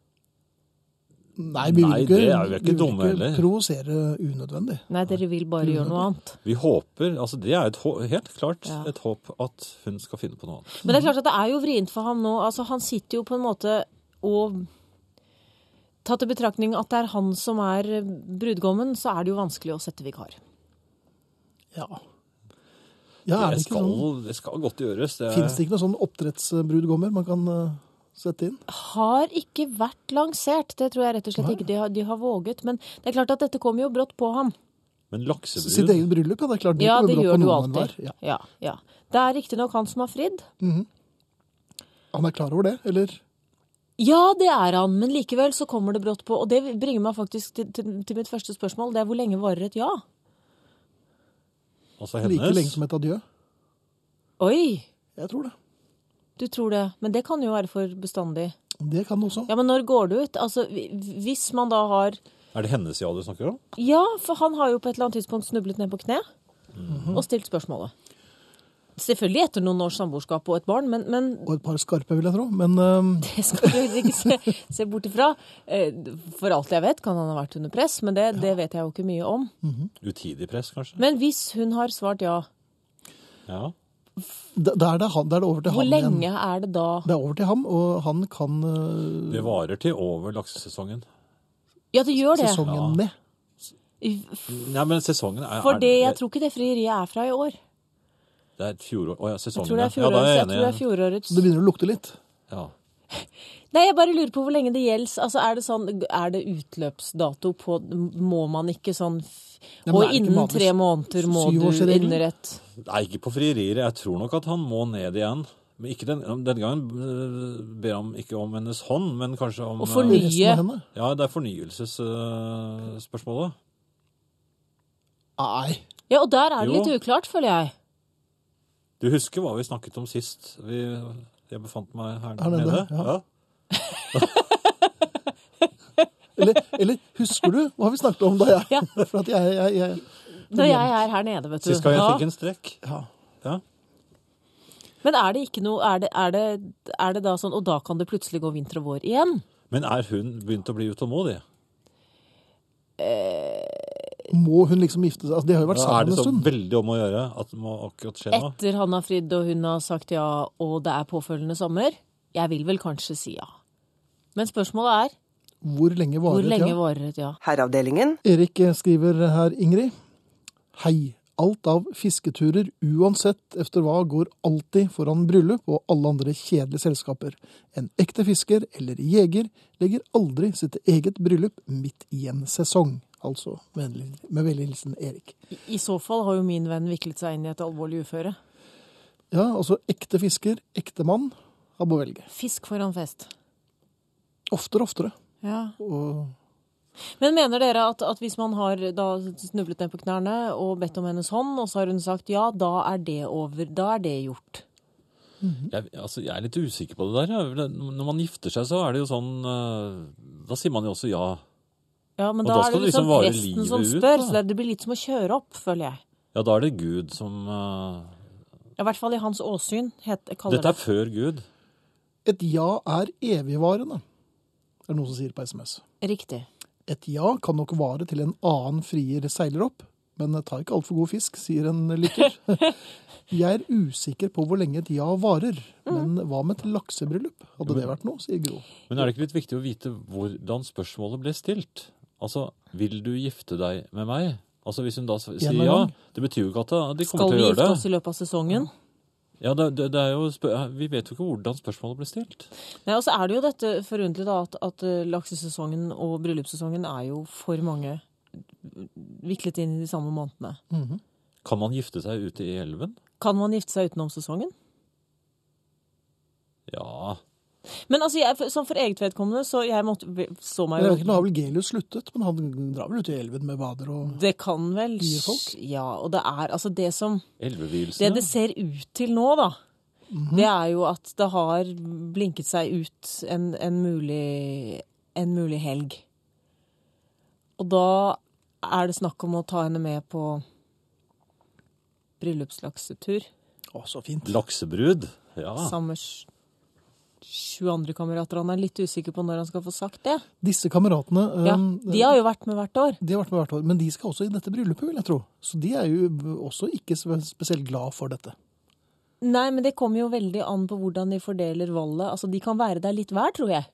[SPEAKER 1] Nei, vi vil
[SPEAKER 2] Nei,
[SPEAKER 1] ikke,
[SPEAKER 2] det er vi ikke
[SPEAKER 1] vi vil
[SPEAKER 2] dumme heller.
[SPEAKER 1] provosere unødvendig.
[SPEAKER 4] Nei, dere vil bare gjøre noe annet.
[SPEAKER 2] Vi håper altså Det er et hå- helt klart
[SPEAKER 4] Ja.
[SPEAKER 2] et håp at hun skal finne på noe annet.
[SPEAKER 4] Men det er klart at det er jo vrient for ham nå. Altså, han sitter jo på en måte og Tatt i betraktning at det er han som er brudgommen, så er det jo vanskelig å sette vikar.
[SPEAKER 1] Ja. ja er
[SPEAKER 2] det,
[SPEAKER 1] det ikke
[SPEAKER 2] skal,
[SPEAKER 1] sånn?
[SPEAKER 2] det skal godt gjøres. Det er,
[SPEAKER 1] Fins det ikke noen sånn oppdrettsbrudgommer man kan eh, sette inn?
[SPEAKER 4] Har ikke vært lansert, det tror jeg rett og slett ikke de har, de har våget. Men det er klart at dette kommer jo brått på ham.
[SPEAKER 2] Men
[SPEAKER 1] Sitt
[SPEAKER 2] laksebrud
[SPEAKER 1] eget bryllup, ja. Det er klart.
[SPEAKER 4] Ja,
[SPEAKER 1] kommer
[SPEAKER 4] det
[SPEAKER 1] brått på
[SPEAKER 4] gjør du
[SPEAKER 1] noen
[SPEAKER 4] alltid.
[SPEAKER 1] hver. Ja.
[SPEAKER 4] Ja, ja. Det er riktignok han som har fridd.
[SPEAKER 1] Han er klar over det, eller?
[SPEAKER 4] Ja, det er han, men likevel så kommer det brått på. Og det bringer meg faktisk til, til, til mitt første spørsmål. Det er hvor lenge varer et ja?
[SPEAKER 2] Altså
[SPEAKER 1] Like lenge
[SPEAKER 2] hennes
[SPEAKER 1] som et adjø?
[SPEAKER 4] Oi,
[SPEAKER 1] Jeg tror det.
[SPEAKER 4] du tror det. Men det kan jo være for bestandig.
[SPEAKER 1] Det kan det også.
[SPEAKER 4] Ja, men når går det ut? Altså, hvi- hvis man da har
[SPEAKER 2] Er det hennes ja du snakker om?
[SPEAKER 4] Ja, for han har jo på et eller annet tidspunkt snublet ned på kne
[SPEAKER 2] Mhm.
[SPEAKER 4] og stilt spørsmålet. Selvfølgelig etter noen års samboerskap og et barn, men, men
[SPEAKER 1] Og et par skarpe, vil jeg tro. Men ehm,
[SPEAKER 4] det skal du ikke se, se bort ifra. Eh, For alt jeg vet, kan han ha vært under press, men det, det vet jeg jo ikke mye om.
[SPEAKER 2] Utidig press, kanskje?
[SPEAKER 4] Men hvis hun har svart ja,
[SPEAKER 2] Ja.
[SPEAKER 1] da da er det, han, da er det over til
[SPEAKER 4] hvor
[SPEAKER 1] han igjen.
[SPEAKER 4] lenge er det da
[SPEAKER 1] Det er over til ham, og han kan eh,
[SPEAKER 2] Det varer til over laksesesongen.
[SPEAKER 4] Ja, det gjør det.
[SPEAKER 1] sesongen ned.
[SPEAKER 2] Nei, men sesongen er
[SPEAKER 4] For
[SPEAKER 2] er-
[SPEAKER 4] det, jeg tror ikke det frieriet er fra i år.
[SPEAKER 2] Det er et fjorår... Å ja,
[SPEAKER 4] Jeg
[SPEAKER 2] sesongen.
[SPEAKER 4] tror det er
[SPEAKER 2] Sånn, ja. Ja, da
[SPEAKER 4] fjorårets.
[SPEAKER 2] jeg
[SPEAKER 4] Jeg tror det er
[SPEAKER 2] enig.
[SPEAKER 4] fjorårets.
[SPEAKER 1] Så det begynner å lukte litt.
[SPEAKER 2] Ja.
[SPEAKER 4] Nei, jeg bare lurer på hvor lenge det gjelder. Altså, er det sånn, er det utløpsdato på Må man ikke sånn f-
[SPEAKER 1] Ja, men er
[SPEAKER 4] Og
[SPEAKER 1] det ikke
[SPEAKER 4] innen
[SPEAKER 1] vanlig
[SPEAKER 4] tre måneder må du
[SPEAKER 1] syvårsregelen?
[SPEAKER 4] innrette
[SPEAKER 2] Nei, ikke på frierier. Jeg tror nok at han må ned igjen. Men ikke den, Denne gangen øh, ber han ikke om hennes hånd, men kanskje om
[SPEAKER 4] Og
[SPEAKER 2] øh,
[SPEAKER 4] forny-
[SPEAKER 1] Resten av henne?
[SPEAKER 2] Ja, det er fornyelsesspørsmålet.
[SPEAKER 1] Nei.
[SPEAKER 4] Ja, og der er det
[SPEAKER 2] Jo.
[SPEAKER 4] litt uklart, føler jeg.
[SPEAKER 2] Du husker hva vi snakket om sist? Vi, jeg befant meg her,
[SPEAKER 1] Her nede,
[SPEAKER 2] nede.
[SPEAKER 1] ja. Eller, eller husker du hva vi snakket om da jeg
[SPEAKER 4] Ja.
[SPEAKER 1] For at jeg, jeg, jeg
[SPEAKER 4] Når jeg er her nede, vet du.
[SPEAKER 2] Sist gang jeg
[SPEAKER 4] Ja.
[SPEAKER 2] fikk en strekk.
[SPEAKER 1] ja.
[SPEAKER 2] Ja.
[SPEAKER 4] Men er det ikke noe er det, er, det, er det da sånn Og da kan det plutselig gå vinter og vår igjen?
[SPEAKER 2] Men er hun begynt å bli utålmodig?
[SPEAKER 4] Eh,
[SPEAKER 1] Må hun liksom gifte seg? Altså, de har jo vært
[SPEAKER 2] Da er
[SPEAKER 1] sammen en
[SPEAKER 2] det så
[SPEAKER 1] stund.
[SPEAKER 2] veldig om å gjøre at det må akkurat skje nå.
[SPEAKER 4] Etter han har fridd og hun har sagt ja, og det er påfølgende sommer? Jeg vil vel kanskje si ja. Men spørsmålet er
[SPEAKER 1] Hvor lenge
[SPEAKER 4] hvor
[SPEAKER 1] varer det?
[SPEAKER 4] lenge
[SPEAKER 1] ja?
[SPEAKER 4] varer et ja?
[SPEAKER 5] Herreavdelingen.
[SPEAKER 1] Erik skriver her, Ingrid. Hei. Alt av fisketurer, uansett efter hva, går alltid foran bryllup og alle andre kjedelige selskaper. En ekte fisker eller jeger legger aldri sitt eget bryllup midt i en sesong. Altså vennlig, med vennlig hilsen Erik.
[SPEAKER 4] I, I så fall har jo min venn viklet seg inn i et alvorlig uføre.
[SPEAKER 1] Ja, altså ekte fisker, ekte mann, han må velge.
[SPEAKER 4] Fisk foran fest.
[SPEAKER 1] Oftere og oftere.
[SPEAKER 4] Ja.
[SPEAKER 1] Og
[SPEAKER 4] Men mener dere at, at hvis man har da snublet ned på knærne og bedt om hennes hånd, og så har hun sagt ja, da er det over, da er det gjort?
[SPEAKER 2] Jeg, altså, jeg er litt usikker på det der. ja. Det- Når man gifter seg, så er det jo sånn øh, Da sier man jo også ja.
[SPEAKER 4] Ja, men
[SPEAKER 2] Og
[SPEAKER 4] da,
[SPEAKER 2] da
[SPEAKER 4] er det
[SPEAKER 2] skal det
[SPEAKER 4] liksom
[SPEAKER 2] liksom vare
[SPEAKER 4] presten som
[SPEAKER 2] livet ut,
[SPEAKER 4] spør,
[SPEAKER 2] da.
[SPEAKER 4] så det blir litt som å kjøre opp, føler jeg.
[SPEAKER 2] Ja, da er det Gud som øh,
[SPEAKER 4] Ja, I hvert fall i hans åsyn, het, kaller
[SPEAKER 2] Dette er før Gud.
[SPEAKER 1] et ja er evigvarende, er det noen som sier på SMS.
[SPEAKER 4] det. Riktig.
[SPEAKER 1] Et ja kan nok vare til en annen frier seiler opp, men ta ikke altfor god fisk, sier en lytter. Jeg er usikker på hvor lenge et ja varer,
[SPEAKER 4] Mm.
[SPEAKER 1] men hva med et laksebryllup? Hadde det vært noe, sier Gro.
[SPEAKER 2] Men er det ikke litt viktig å vite hvordan spørsmålet ble stilt? Altså, vil du gifte deg med meg? Altså, Hvis hun da s- sier
[SPEAKER 1] en
[SPEAKER 2] ja,
[SPEAKER 1] gang.
[SPEAKER 2] det betyr jo ikke at de kommer
[SPEAKER 4] Skal
[SPEAKER 2] til
[SPEAKER 4] vi
[SPEAKER 2] å
[SPEAKER 4] gifte
[SPEAKER 2] gjøre
[SPEAKER 4] oss
[SPEAKER 2] det.
[SPEAKER 4] i løpet av sesongen?
[SPEAKER 2] Ja, det, det, det er jo, spø- Vi vet jo ikke hvordan spørsmålet ble stilt.
[SPEAKER 4] Nei, og så er det jo dette forunderlige da, at, at eh, laksesesongen og bryllupssesongen er jo for mange viklet inn i de samme månedene.
[SPEAKER 1] Mhm.
[SPEAKER 2] Kan man gifte seg ute i elven?
[SPEAKER 4] Kan man gifte seg utenom sesongen?
[SPEAKER 2] Ja
[SPEAKER 4] Men altså, jeg, for- som for eget vedkommende, så jeg måtte, så meg
[SPEAKER 1] Jeg vet ikke,
[SPEAKER 4] jo
[SPEAKER 1] Nå har vel Gelius sluttet, men han drar vel ut i elven med bader og
[SPEAKER 4] Det kan vel
[SPEAKER 1] Nye folk? Sånn.
[SPEAKER 4] Ja, og det er altså det som Det
[SPEAKER 2] Elvevielsene?
[SPEAKER 4] det ser ut til nå, da,
[SPEAKER 1] Mhm.
[SPEAKER 4] det er jo at det har blinket seg ut en, en, mulig, en mulig helg. Og da er det snakk om å ta henne med på bryllupslaksetur.
[SPEAKER 1] Å, så fint.
[SPEAKER 2] Laksebrud? Ja.
[SPEAKER 1] Ah.
[SPEAKER 4] Sammen med sj- sju andre kamerater. Han er litt usikker på når han skal få sagt det.
[SPEAKER 1] Disse kameratene eh,
[SPEAKER 4] Ja, de har jo vært med hvert år.
[SPEAKER 1] de har vært med hvert år, men de skal også i dette bryllupet, vil jeg tro. Så de er jo også ikke spe- spesielt glad for dette.
[SPEAKER 4] Nei, men det kommer jo veldig an på hvordan de fordeler valget. Altså, De kan være der litt hver, tror jeg.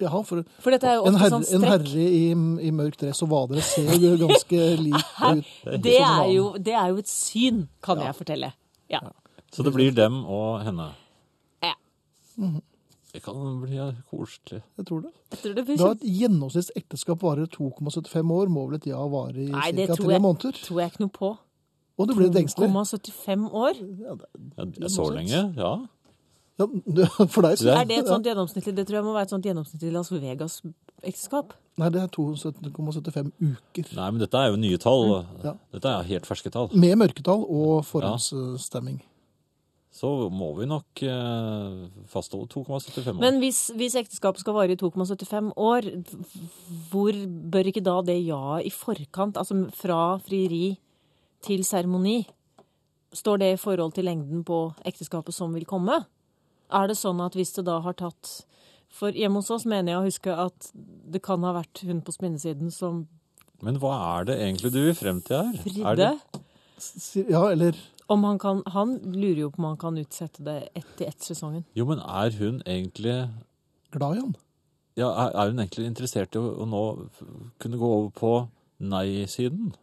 [SPEAKER 1] Jaha, for
[SPEAKER 4] For dette er jo
[SPEAKER 1] en
[SPEAKER 4] ofte
[SPEAKER 1] herre,
[SPEAKER 4] sånn
[SPEAKER 1] en
[SPEAKER 4] strekk.
[SPEAKER 1] herre i, i mørk dress og vadere ser jo ganske lik ut. som
[SPEAKER 4] Det
[SPEAKER 1] en
[SPEAKER 4] er,
[SPEAKER 1] annen.
[SPEAKER 4] jo, det er jo et syn, kan jeg fortelle. Ja.
[SPEAKER 2] Så det blir dem og henne. Mhm.
[SPEAKER 4] Ja.
[SPEAKER 2] Det kan bli koselig.
[SPEAKER 1] Jeg tror det.
[SPEAKER 4] Jeg tror det blir
[SPEAKER 1] Da
[SPEAKER 4] kjempe-
[SPEAKER 1] et gjennomsnitts ekteskap varer 2,75 år, må vel et ja vare i
[SPEAKER 4] Nei, det
[SPEAKER 1] ca.
[SPEAKER 4] tror
[SPEAKER 1] tre
[SPEAKER 4] jeg,
[SPEAKER 1] måneder?
[SPEAKER 4] tror jeg ikke noe på.
[SPEAKER 1] Og du blir litt engstelig.
[SPEAKER 4] 2,75 år.
[SPEAKER 2] Ja, det er så lenge? Ja.
[SPEAKER 1] Ja, du- for deg
[SPEAKER 2] Det
[SPEAKER 1] så
[SPEAKER 4] Er det et sånt gjennomsnittlig Det tror jeg må være et sånt gjennomsnittlig Las Vegas-ekteskap.
[SPEAKER 1] Nei, det er 2,75 uker.
[SPEAKER 2] Nei, men dette er jo nye tall.
[SPEAKER 1] Ja.
[SPEAKER 2] Dette er helt ferske tall.
[SPEAKER 1] Med mørketall og forhåndsstemming.
[SPEAKER 2] Så må vi nok eh, fastholde 2,75 år.
[SPEAKER 4] Men hvis, hvis ekteskapet skal vare i 2,75 år, hvor bør ikke da det ja i forkant, altså fra frieri til seremoni, står det i forhold til lengden på ekteskapet som vil komme? Er det sånn at hvis det da har tatt For hjemme hos oss mener jeg å huske at det kan ha vært hun på spinnesiden som
[SPEAKER 2] Men hva er det egentlig du vil frem til her? Er
[SPEAKER 4] fridde.
[SPEAKER 2] det,
[SPEAKER 1] S- Ja, eller
[SPEAKER 4] Om han kan Han lurer jo på om han kan utsette det etter ett-sesongen.
[SPEAKER 2] jo, men er hun egentlig
[SPEAKER 1] glad i han.
[SPEAKER 2] ja, er, er hun egentlig interessert i å, å nå f- kunne gå over på nei-siden?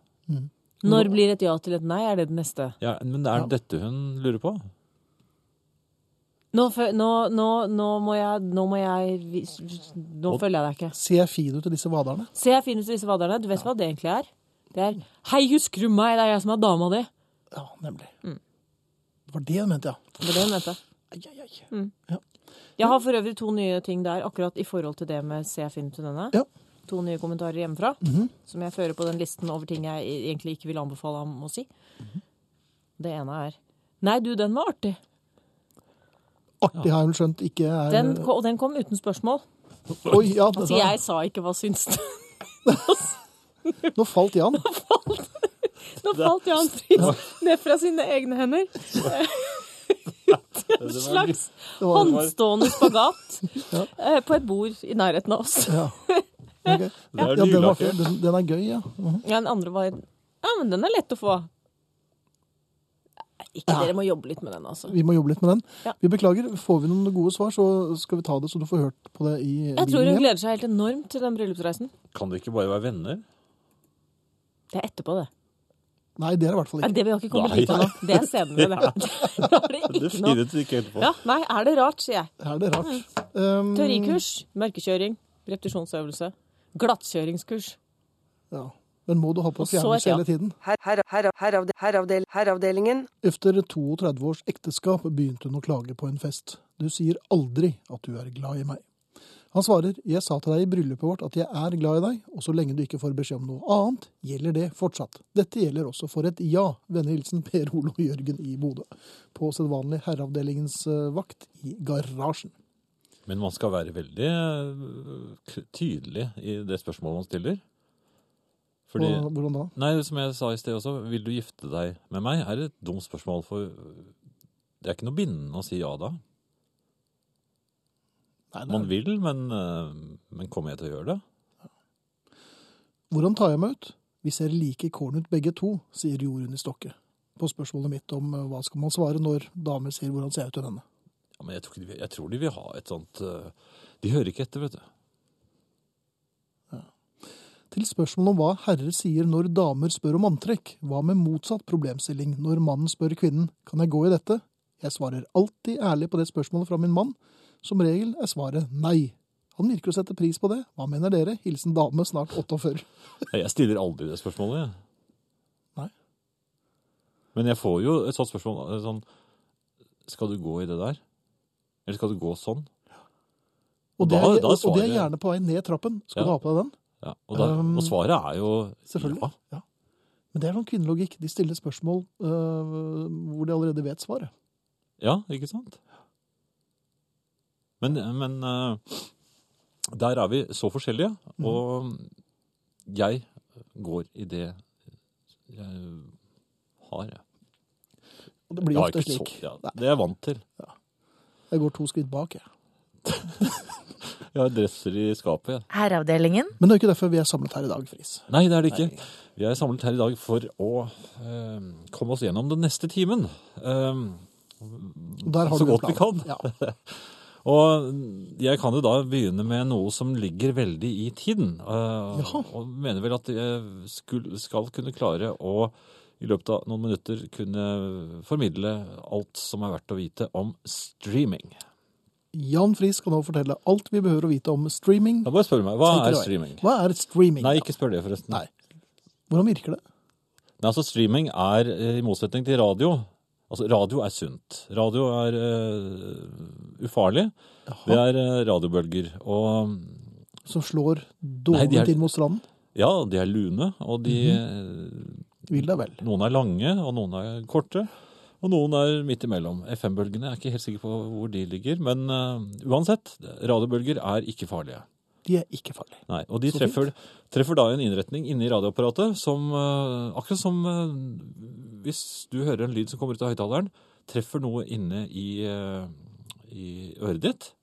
[SPEAKER 4] Når blir et ja til et nei? Er det det neste?
[SPEAKER 2] Ja, men er det dette hun lurer på?
[SPEAKER 4] Nå, fø- nå, nå, nå må jeg Nå må jeg vis- Nå følger jeg deg ikke.
[SPEAKER 1] Ser jeg fin ut i disse vaderne?
[SPEAKER 4] Se, jeg finner disse vaderne. Du vet hva det egentlig er? Det er 'Hei, husker du meg? Det er jeg som er dama di'.
[SPEAKER 1] Ja, nemlig.
[SPEAKER 4] Mm.
[SPEAKER 1] Det var det hun mente, ja.
[SPEAKER 4] Det var det hun mente.
[SPEAKER 1] Ai, ai, ai.
[SPEAKER 4] Mm. Jeg har for øvrig to nye ting der akkurat i forhold til det med 'se, jeg finner til denne'.
[SPEAKER 1] Ja.
[SPEAKER 4] To nye kommentarer hjemmefra som jeg fører på den listen over ting jeg egentlig ikke vil anbefale ham å si. Det ene er 'Nei, du, den var artig'.
[SPEAKER 1] Artig har hun skjønt ikke er
[SPEAKER 4] Den, ko- og den kom uten spørsmål.
[SPEAKER 1] Oi, ja,
[SPEAKER 4] Så jeg sa ikke 'hva syns du'?
[SPEAKER 1] Nå falt Jan.
[SPEAKER 4] Nå falt Jan Friis ned fra sine egne hender. En slags håndstående spagat
[SPEAKER 1] Ja.
[SPEAKER 4] eh, på et bord i nærheten av oss.
[SPEAKER 1] Ja. Ok.
[SPEAKER 2] er
[SPEAKER 1] ja, den, var,
[SPEAKER 2] nylakker.
[SPEAKER 1] den, den er gøy, ja. Mhm.
[SPEAKER 4] Ja, den andre var Ja, men den er lett å få. Nei, Ikke dere må jobbe litt med den, altså.
[SPEAKER 1] Vi må jobbe litt med den.
[SPEAKER 4] Ja.
[SPEAKER 1] Vi beklager. Får vi noen gode svar, så skal vi ta det så du får hørt på det i
[SPEAKER 4] Jeg tror hun
[SPEAKER 1] hjem.
[SPEAKER 4] gleder seg helt enormt til den bryllupsreisen.
[SPEAKER 2] Kan det ikke bare være venner?
[SPEAKER 4] Det er etterpå, det.
[SPEAKER 1] Nei, det er det i hvert fall
[SPEAKER 4] Nei,
[SPEAKER 1] ikke.
[SPEAKER 4] det vil jeg ikke komme
[SPEAKER 2] Nei.
[SPEAKER 4] dit ennå. Det er senere, det. Da er det
[SPEAKER 2] Det
[SPEAKER 4] ikke noe.
[SPEAKER 2] firet ikke helt på.
[SPEAKER 4] Ja, nei, er det rart, sier jeg.
[SPEAKER 1] Er det rart? Um,
[SPEAKER 4] Teorikurs, mørkekjøring, repetisjonsøvelse, glattkjøringskurs.
[SPEAKER 1] Ja. Den må du ha på
[SPEAKER 4] Og så et
[SPEAKER 1] fjernus
[SPEAKER 4] ja.
[SPEAKER 1] hele tiden.
[SPEAKER 5] Her, her, her, heravde, heravdel, heravdelingen.
[SPEAKER 1] Etter 32 års ekteskap begynte hun å klage på en fest. Du sier aldri at du er glad i meg. Han svarer, jeg sa til deg i bryllupet vårt at jeg er glad i deg, og så lenge du ikke får beskjed om noe annet, gjelder det fortsatt. Dette gjelder også for et ja, venne hilsen Per Olo Jørgen i Bodø. På sedvanlig herreavdelingens eh, vakt i garasjen.
[SPEAKER 2] Men man skal være veldig øh, k- tydelig i det spørsmålet man stiller. Fordi,
[SPEAKER 1] Hvordan- Hvordan da?
[SPEAKER 2] nei, som jeg sa i sted også, vil du gifte deg med meg? Er et dumt spørsmål, for øh, det er ikke noe bindende å si ja da.
[SPEAKER 1] Nei, det er-
[SPEAKER 2] Man vil, men, øh, men kommer jeg til å gjøre det?
[SPEAKER 1] Hvordan tar jeg meg ut? Vi ser like korn ut begge to, sier Jorunn i Stokke. På spørsmålet mitt om eh, hva skal man svare når damer sier hvordan ser jeg ut til denne.
[SPEAKER 2] Ja, men jeg tror, ikke de vil, jeg tror de vil ha et sånt øh, De hører ikke etter, vet du.
[SPEAKER 1] Til spørsmålet om hva herrer sier når damer spør om antrekk, hva med motsatt problemstilling når mannen spør kvinnen kan jeg gå i dette, Jeg svarer alltid ærlig på det spørsmålet fra min mann. Som regel er svaret nei. Han virker å sette pris på det. Hva mener dere? Hilsen dame, snart 48.
[SPEAKER 2] Nei, Jeg stiller aldri det spørsmålet. jeg.
[SPEAKER 1] Nei.
[SPEAKER 2] Men jeg får jo et sånt spørsmål eh, sånn Skal du gå i det der? Eller skal du gå sånn?
[SPEAKER 1] Og det,
[SPEAKER 2] Da-
[SPEAKER 1] er,
[SPEAKER 2] da
[SPEAKER 1] og det er
[SPEAKER 2] svarer-
[SPEAKER 1] gjerne på vei ned trappen. Skal
[SPEAKER 2] Ja.
[SPEAKER 1] du ha på deg den?
[SPEAKER 2] Ja, og, da,
[SPEAKER 1] Um,
[SPEAKER 2] og svaret er jo
[SPEAKER 1] Selvfølgelig.
[SPEAKER 2] Ja.
[SPEAKER 1] Ja. Men det er sånn kvinnelogikk. De stiller spørsmål øh, hvor de allerede vet svaret.
[SPEAKER 2] Ja, ikke sant? Men, men eh, der er vi så forskjellige,
[SPEAKER 1] Mhm.
[SPEAKER 2] og jeg går i det jeg har. jeg.
[SPEAKER 1] Og det blir
[SPEAKER 2] Jeg har
[SPEAKER 1] ofte
[SPEAKER 2] ikke
[SPEAKER 1] slik.
[SPEAKER 2] så- ja,
[SPEAKER 1] Nei,
[SPEAKER 2] det er jeg vant til.
[SPEAKER 1] jeg går to skritt bak, jeg.
[SPEAKER 2] Jeg har dresser i skapet. jeg.
[SPEAKER 3] Herreavdelingen.
[SPEAKER 1] Men det er jo ikke derfor vi er samlet her i dag, Friis.
[SPEAKER 2] Nei, det er det ikke. Vi er samlet her i dag for å eh, komme oss gjennom den neste timen. Eh,
[SPEAKER 1] Og Der har
[SPEAKER 2] Mm. Så
[SPEAKER 1] du en
[SPEAKER 2] godt vi
[SPEAKER 1] plan.
[SPEAKER 2] kan.
[SPEAKER 1] Ja.
[SPEAKER 2] Og jeg kan jo da begynne med noe som ligger veldig i tiden. eh,
[SPEAKER 1] Jaha.
[SPEAKER 2] Og mener vel at jeg skulle, skal kunne klare å i løpet av noen minutter kunne formidle alt som er verdt å vite om streaming.
[SPEAKER 1] Jan Friis kan nå fortelle alt vi behøver å vite om streaming.
[SPEAKER 2] Da bare spør du meg, hva
[SPEAKER 1] Take it
[SPEAKER 2] er
[SPEAKER 1] away.
[SPEAKER 2] streaming?
[SPEAKER 1] Hva er streaming? da?
[SPEAKER 2] Nei, ikke spør det forresten.
[SPEAKER 1] Nei. Hvordan virker det?
[SPEAKER 2] Nei, altså streaming er eh, i motsetning til radio. Altså radio er sunt. Radio er eh, ufarlig. Det er eh, radiobølger. Og
[SPEAKER 1] Som slår
[SPEAKER 2] Nei, de
[SPEAKER 1] dårlig
[SPEAKER 2] er-
[SPEAKER 1] til mot stranden?
[SPEAKER 2] ja, de er lune, og de
[SPEAKER 1] Mhm.
[SPEAKER 2] eh,
[SPEAKER 1] Vil deg vel.
[SPEAKER 2] Noen er lange, og noen er korte. Og noen er midt imellom. FM-bølgene er ikke helt sikker på hvor de ligger. Men eh, uansett, radiobølger er ikke farlige.
[SPEAKER 1] De er ikke farlige.
[SPEAKER 2] Nei, Og de
[SPEAKER 1] Så
[SPEAKER 2] treffer, treffer da en innretning inni radioapparatet som eh, Akkurat som eh, hvis du hører en lyd som kommer ut av høyttaleren, treffer noe inne i, eh, i øret ditt.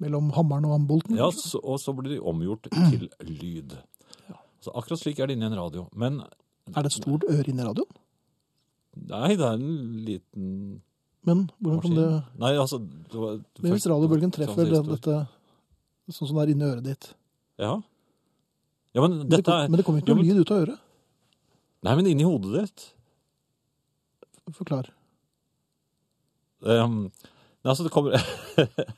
[SPEAKER 1] Mellom hammeren og ambolten?
[SPEAKER 2] Ja,
[SPEAKER 1] kanskje?
[SPEAKER 2] så, og så blir de omgjort til lyd. Så akkurat slik er det inni en radio. Men
[SPEAKER 1] Er det et stort øre inni radioen?
[SPEAKER 2] nei, det er en liten
[SPEAKER 1] Men hvordan kan det
[SPEAKER 2] Maskinen? Nei, altså det var, sånn
[SPEAKER 1] Men hvis radiobølgen treffer den,
[SPEAKER 2] Transistor.
[SPEAKER 1] dette sånn som det er inni øret ditt
[SPEAKER 2] Ja. ja, men
[SPEAKER 1] Men, det,
[SPEAKER 2] dette
[SPEAKER 1] kom,
[SPEAKER 2] er
[SPEAKER 1] men det kommer ikke
[SPEAKER 2] Ja,
[SPEAKER 1] noe
[SPEAKER 2] men-
[SPEAKER 1] lyd ut av øret.
[SPEAKER 2] Nei, men inni hodet ditt.
[SPEAKER 1] Forklar.
[SPEAKER 2] Ehm, nei, altså, det kommer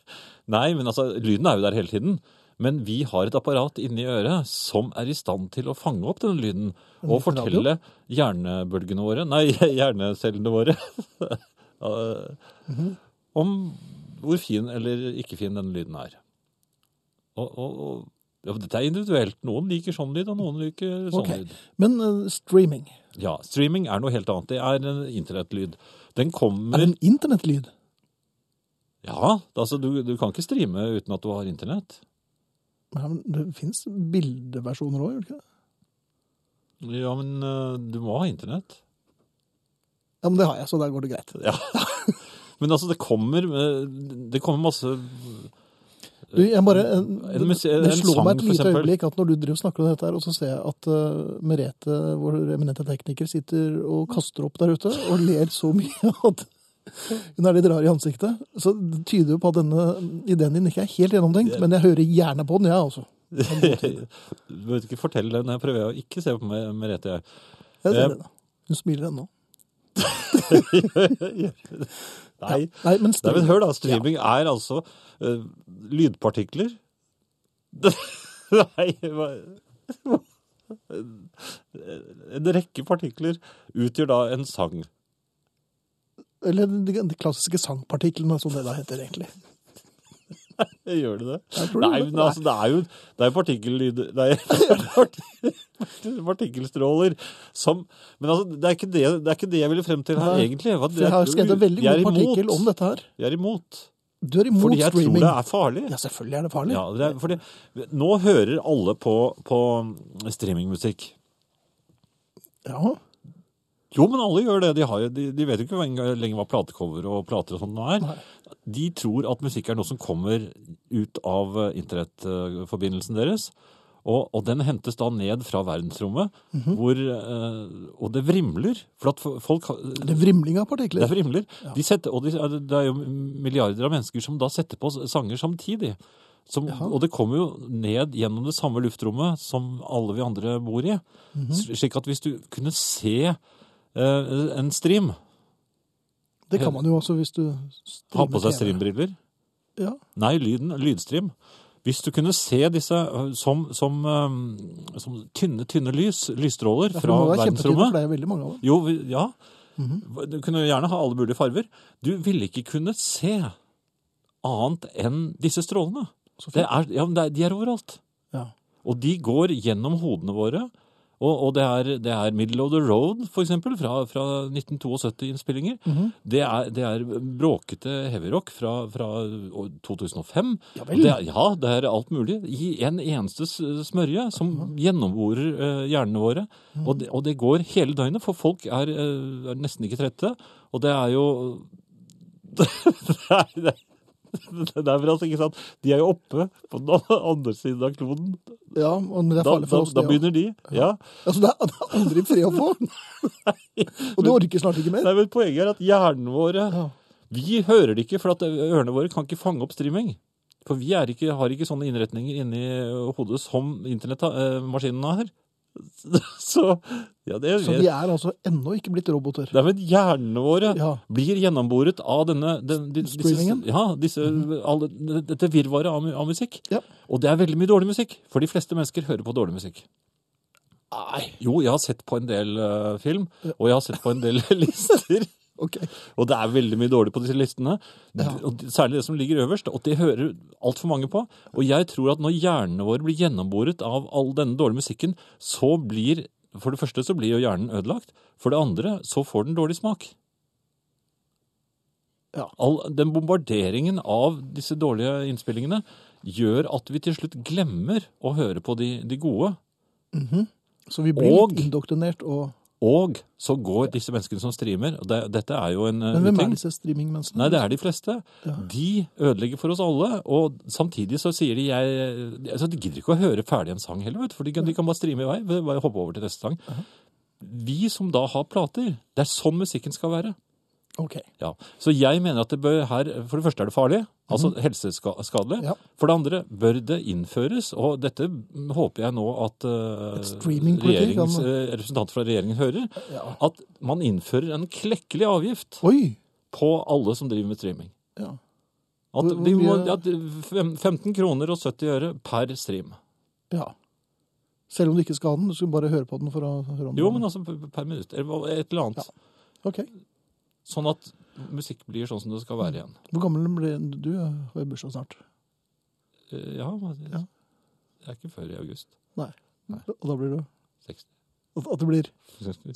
[SPEAKER 2] Nei, men altså, lyden er jo der hele tiden. Men vi har et apparat inni øret som er i stand til å fange opp denne lyden
[SPEAKER 1] En
[SPEAKER 2] og
[SPEAKER 1] liten
[SPEAKER 2] fortelle hjernebølgene våre Nei, hjernecellene våre eh, om hvor fin eller ikke fin denne lyden er. Og, og, og ja, men Dette er individuelt. Noen liker sånn lyd, og noen liker sånn
[SPEAKER 1] Ok.
[SPEAKER 2] lyd.
[SPEAKER 1] Men eh, streaming,
[SPEAKER 2] Ja, streaming er noe helt annet. Det er en internettlyd. Den
[SPEAKER 1] er
[SPEAKER 2] kommer
[SPEAKER 1] det en internettlyd?
[SPEAKER 2] Ja, altså du, du kan ikke streame uten at du har internett.
[SPEAKER 1] Nei, men Det fins bildeversjoner òg, gjør det ikke det?
[SPEAKER 2] Ja, men øh, du må ha internett.
[SPEAKER 1] Ja, men det har jeg, så der går det greit.
[SPEAKER 2] Men altså, det kommer, øh, det kommer masse
[SPEAKER 1] Du, jeg bare,
[SPEAKER 2] En
[SPEAKER 1] det,
[SPEAKER 2] muse-
[SPEAKER 1] det
[SPEAKER 2] en
[SPEAKER 1] slår
[SPEAKER 2] sang,
[SPEAKER 1] meg et
[SPEAKER 2] for
[SPEAKER 1] lite
[SPEAKER 2] eksempel.
[SPEAKER 1] øyeblikk at når du driver og snakker om dette, her, og så ser jeg at eh, Merete, vår eminente tekniker, sitter og kaster opp der ute og ler så mye at hun er litt rar i ansiktet. Så det tyder jo på at denne ideen din ikke er helt gjennomtenkt, men jeg hører gjerne på den, jeg altså. også.
[SPEAKER 2] Du vet ikke, fortell det. Nå prøver jeg å ikke se på Me- Merete. jeg.
[SPEAKER 1] Jeg
[SPEAKER 2] Ja.
[SPEAKER 1] ser det. da. Hun smiler ennå.
[SPEAKER 2] Nei.
[SPEAKER 1] Nei, men
[SPEAKER 2] Nei, men
[SPEAKER 1] streaming,
[SPEAKER 2] hør da, streaming er altså øh, lydpartikler. Nei, hva... En rekke partikler utgjør da en sang.
[SPEAKER 1] eller de, de klassiske sangpartiklene, som det da heter egentlig.
[SPEAKER 2] Gjør det det?
[SPEAKER 1] Jeg tror det
[SPEAKER 2] Nei,
[SPEAKER 1] gjør det.
[SPEAKER 2] men altså, det er jo det er partikkellyd Nei, parti- partikkelstråler som Men altså, det er ikke det, det, er ikke det jeg ville frem til her,
[SPEAKER 1] Nei,
[SPEAKER 2] egentlig. Hva-
[SPEAKER 1] For jeg har
[SPEAKER 2] det-
[SPEAKER 1] skrevet en veldig
[SPEAKER 2] jeg er
[SPEAKER 1] god
[SPEAKER 2] imot.
[SPEAKER 1] partikkel om dette her.
[SPEAKER 2] Jeg er imot.
[SPEAKER 1] Du er imot
[SPEAKER 2] Fordi jeg
[SPEAKER 1] streaming.
[SPEAKER 2] tror det er farlig.
[SPEAKER 1] Ja, selvfølgelig er det farlig.
[SPEAKER 2] Ja, det er, fordi nå hører alle på, på streamingmusikk.
[SPEAKER 1] Ja.
[SPEAKER 2] Jo, men alle gjør det. De, har, jo- de, de vet jo ikke engang lenger hva platecover og plater og sånt nå er.
[SPEAKER 1] Nei.
[SPEAKER 2] De tror at musikk er noe som kommer ut av eh, internettforbindelsen deres. Og, og den hentes da ned fra verdensrommet,
[SPEAKER 1] Mhm.
[SPEAKER 2] hvor, eh, og det vrimler. For at fo- folk har-
[SPEAKER 1] Det er vrimling av
[SPEAKER 2] det
[SPEAKER 1] partikler.
[SPEAKER 2] vrimler. De setter, og de, det er jo milliarder av mennesker som da setter på sanger samtidig. Som, og det kommer jo ned gjennom det samme luftrommet som alle vi andre bor i.
[SPEAKER 1] Mhm.
[SPEAKER 2] Slik at hvis du kunne se eh, en stream
[SPEAKER 1] Det kan man jo også hvis du streamer
[SPEAKER 2] Ha på seg
[SPEAKER 1] TV.
[SPEAKER 2] streambriller.
[SPEAKER 1] Ja.
[SPEAKER 2] Nei, lyden, lydstream. Hvis du kunne se disse øh, som, som, øhm, som tynne, tynne lys, lysstråler
[SPEAKER 1] Ja, for
[SPEAKER 2] fra
[SPEAKER 1] det må være kjempetydelig, for
[SPEAKER 2] verdensrommet
[SPEAKER 1] det er veldig mange av dem.
[SPEAKER 2] Jo, vi- ja. Du kunne jo gjerne ha alle mulige farger. Du ville ikke kunne se annet enn disse strålene.
[SPEAKER 1] Så
[SPEAKER 2] Det
[SPEAKER 1] fint.
[SPEAKER 2] er, ja, men det er, de er overalt.
[SPEAKER 1] Ja.
[SPEAKER 2] Og de går gjennom hodene våre. Og, og det, er, det er Middle of the Road, for eksempel, fra, fra 1972-innspillinger.
[SPEAKER 1] Mhm.
[SPEAKER 2] det, er, det er bråkete heavyrock fra, fra år 2005.
[SPEAKER 1] Ja vel.
[SPEAKER 2] det er, ja, det er alt mulig. I en eneste s- smørje som gjennomborer eh, hjernene våre.
[SPEAKER 1] Mhm.
[SPEAKER 2] Og, det, og det går hele døgnet, for folk er, eh, er nesten ikke trette. Og det er jo Nei, det det er vel altså ikke sant. De er jo oppe på den andre siden av kloden
[SPEAKER 1] ja, men det er
[SPEAKER 2] da,
[SPEAKER 1] farlig
[SPEAKER 2] da,
[SPEAKER 1] for oss. det,
[SPEAKER 2] da
[SPEAKER 1] ja.
[SPEAKER 2] begynner de. Ja.
[SPEAKER 1] Altså, det, er, det er aldri fred å få. Og du orker snart ikke mer.
[SPEAKER 2] Nei, men Poenget er at hjernen våre
[SPEAKER 1] Ja.
[SPEAKER 2] Vi hører det ikke, for at eh, ørene våre kan ikke fange opp streaming. For vi er ikke, har ikke sånne innretninger inni hodet som internettmaskinene har. Så ja, det,
[SPEAKER 1] Så vi er altså ennå ikke blitt roboter.
[SPEAKER 2] det er vel hjernene våre
[SPEAKER 1] Ja.
[SPEAKER 2] blir gjennomboret av denne den, de- disse,
[SPEAKER 1] Streamingen?
[SPEAKER 2] Ja, disse, alle, dette virvaret av, mu- av musikk.
[SPEAKER 1] Mhm. Ja.
[SPEAKER 2] Og det er veldig mye dårlig musikk, for de fleste mennesker hører på dårlig musikk. Nei. Jo, jeg har sett på en del eh, film, og jeg har sett på en del lister.
[SPEAKER 1] Ok.
[SPEAKER 2] Og det er veldig mye dårlig på disse listene. Og særlig det som ligger øverst. Og det hører altfor mange på. Og jeg tror at når hjernene våre blir gjennomboret av all denne dårlige musikken, så blir For det første så blir jo hjernen ødelagt. For det andre så får den dårlig smak.
[SPEAKER 1] Ja.
[SPEAKER 2] All, den bombarderingen av disse dårlige innspillingene gjør at vi til slutt glemmer å høre på de, de gode.
[SPEAKER 1] Så vi blir
[SPEAKER 2] Og-
[SPEAKER 1] litt indoktrinert og
[SPEAKER 2] Og så går disse menneskene som streamer og det, Dette er jo en eh,
[SPEAKER 1] Men hvem
[SPEAKER 2] uting.
[SPEAKER 1] er disse streamingmenneskene?
[SPEAKER 2] Nei, det er de fleste. De ødelegger for oss alle, og samtidig så sier de jeg altså De gidder ikke å høre ferdig en sang heller, vet du, for de kan, de kan bare streame i vei. Bare hoppe over til neste sang. Vi som da har plater, det er sånn musikken skal være.
[SPEAKER 1] Ok.
[SPEAKER 2] Ja. Så jeg mener at det bør her For det første er det farlig, altså helseskadelig.
[SPEAKER 1] Mhm. Ja.
[SPEAKER 2] For det andre bør det innføres, og dette håper jeg nå at eh,
[SPEAKER 1] Et streamingpolitikk, ja,
[SPEAKER 2] regjerings-
[SPEAKER 1] men-
[SPEAKER 2] eh, representanter fra regjeringen hører,
[SPEAKER 1] Ja.
[SPEAKER 2] at man innfører en klekkelig avgift
[SPEAKER 1] Oi!
[SPEAKER 2] på alle som driver med streaming.
[SPEAKER 1] Ja.
[SPEAKER 2] At,
[SPEAKER 1] Hvor- hvor
[SPEAKER 2] vi må,
[SPEAKER 1] mye-
[SPEAKER 2] at fem- 15 kroner og 70 øre per stream.
[SPEAKER 1] ja. Selv om du ikke skal ha den, du skulle bare høre på den for å høre om
[SPEAKER 2] Jo,
[SPEAKER 1] den.
[SPEAKER 2] men altså per- per minutt. Eller hva- et eller annet.
[SPEAKER 1] Ok.
[SPEAKER 2] Sånn at musikk blir sånn som det skal være igjen.
[SPEAKER 1] Hvor gammel ble du? Du har jo bursdag snart.
[SPEAKER 2] Eh, Ja, det
[SPEAKER 1] Ja.
[SPEAKER 2] det er ikke før i august.
[SPEAKER 1] Nei. Og da blir du
[SPEAKER 2] Seksten.
[SPEAKER 1] At at det blir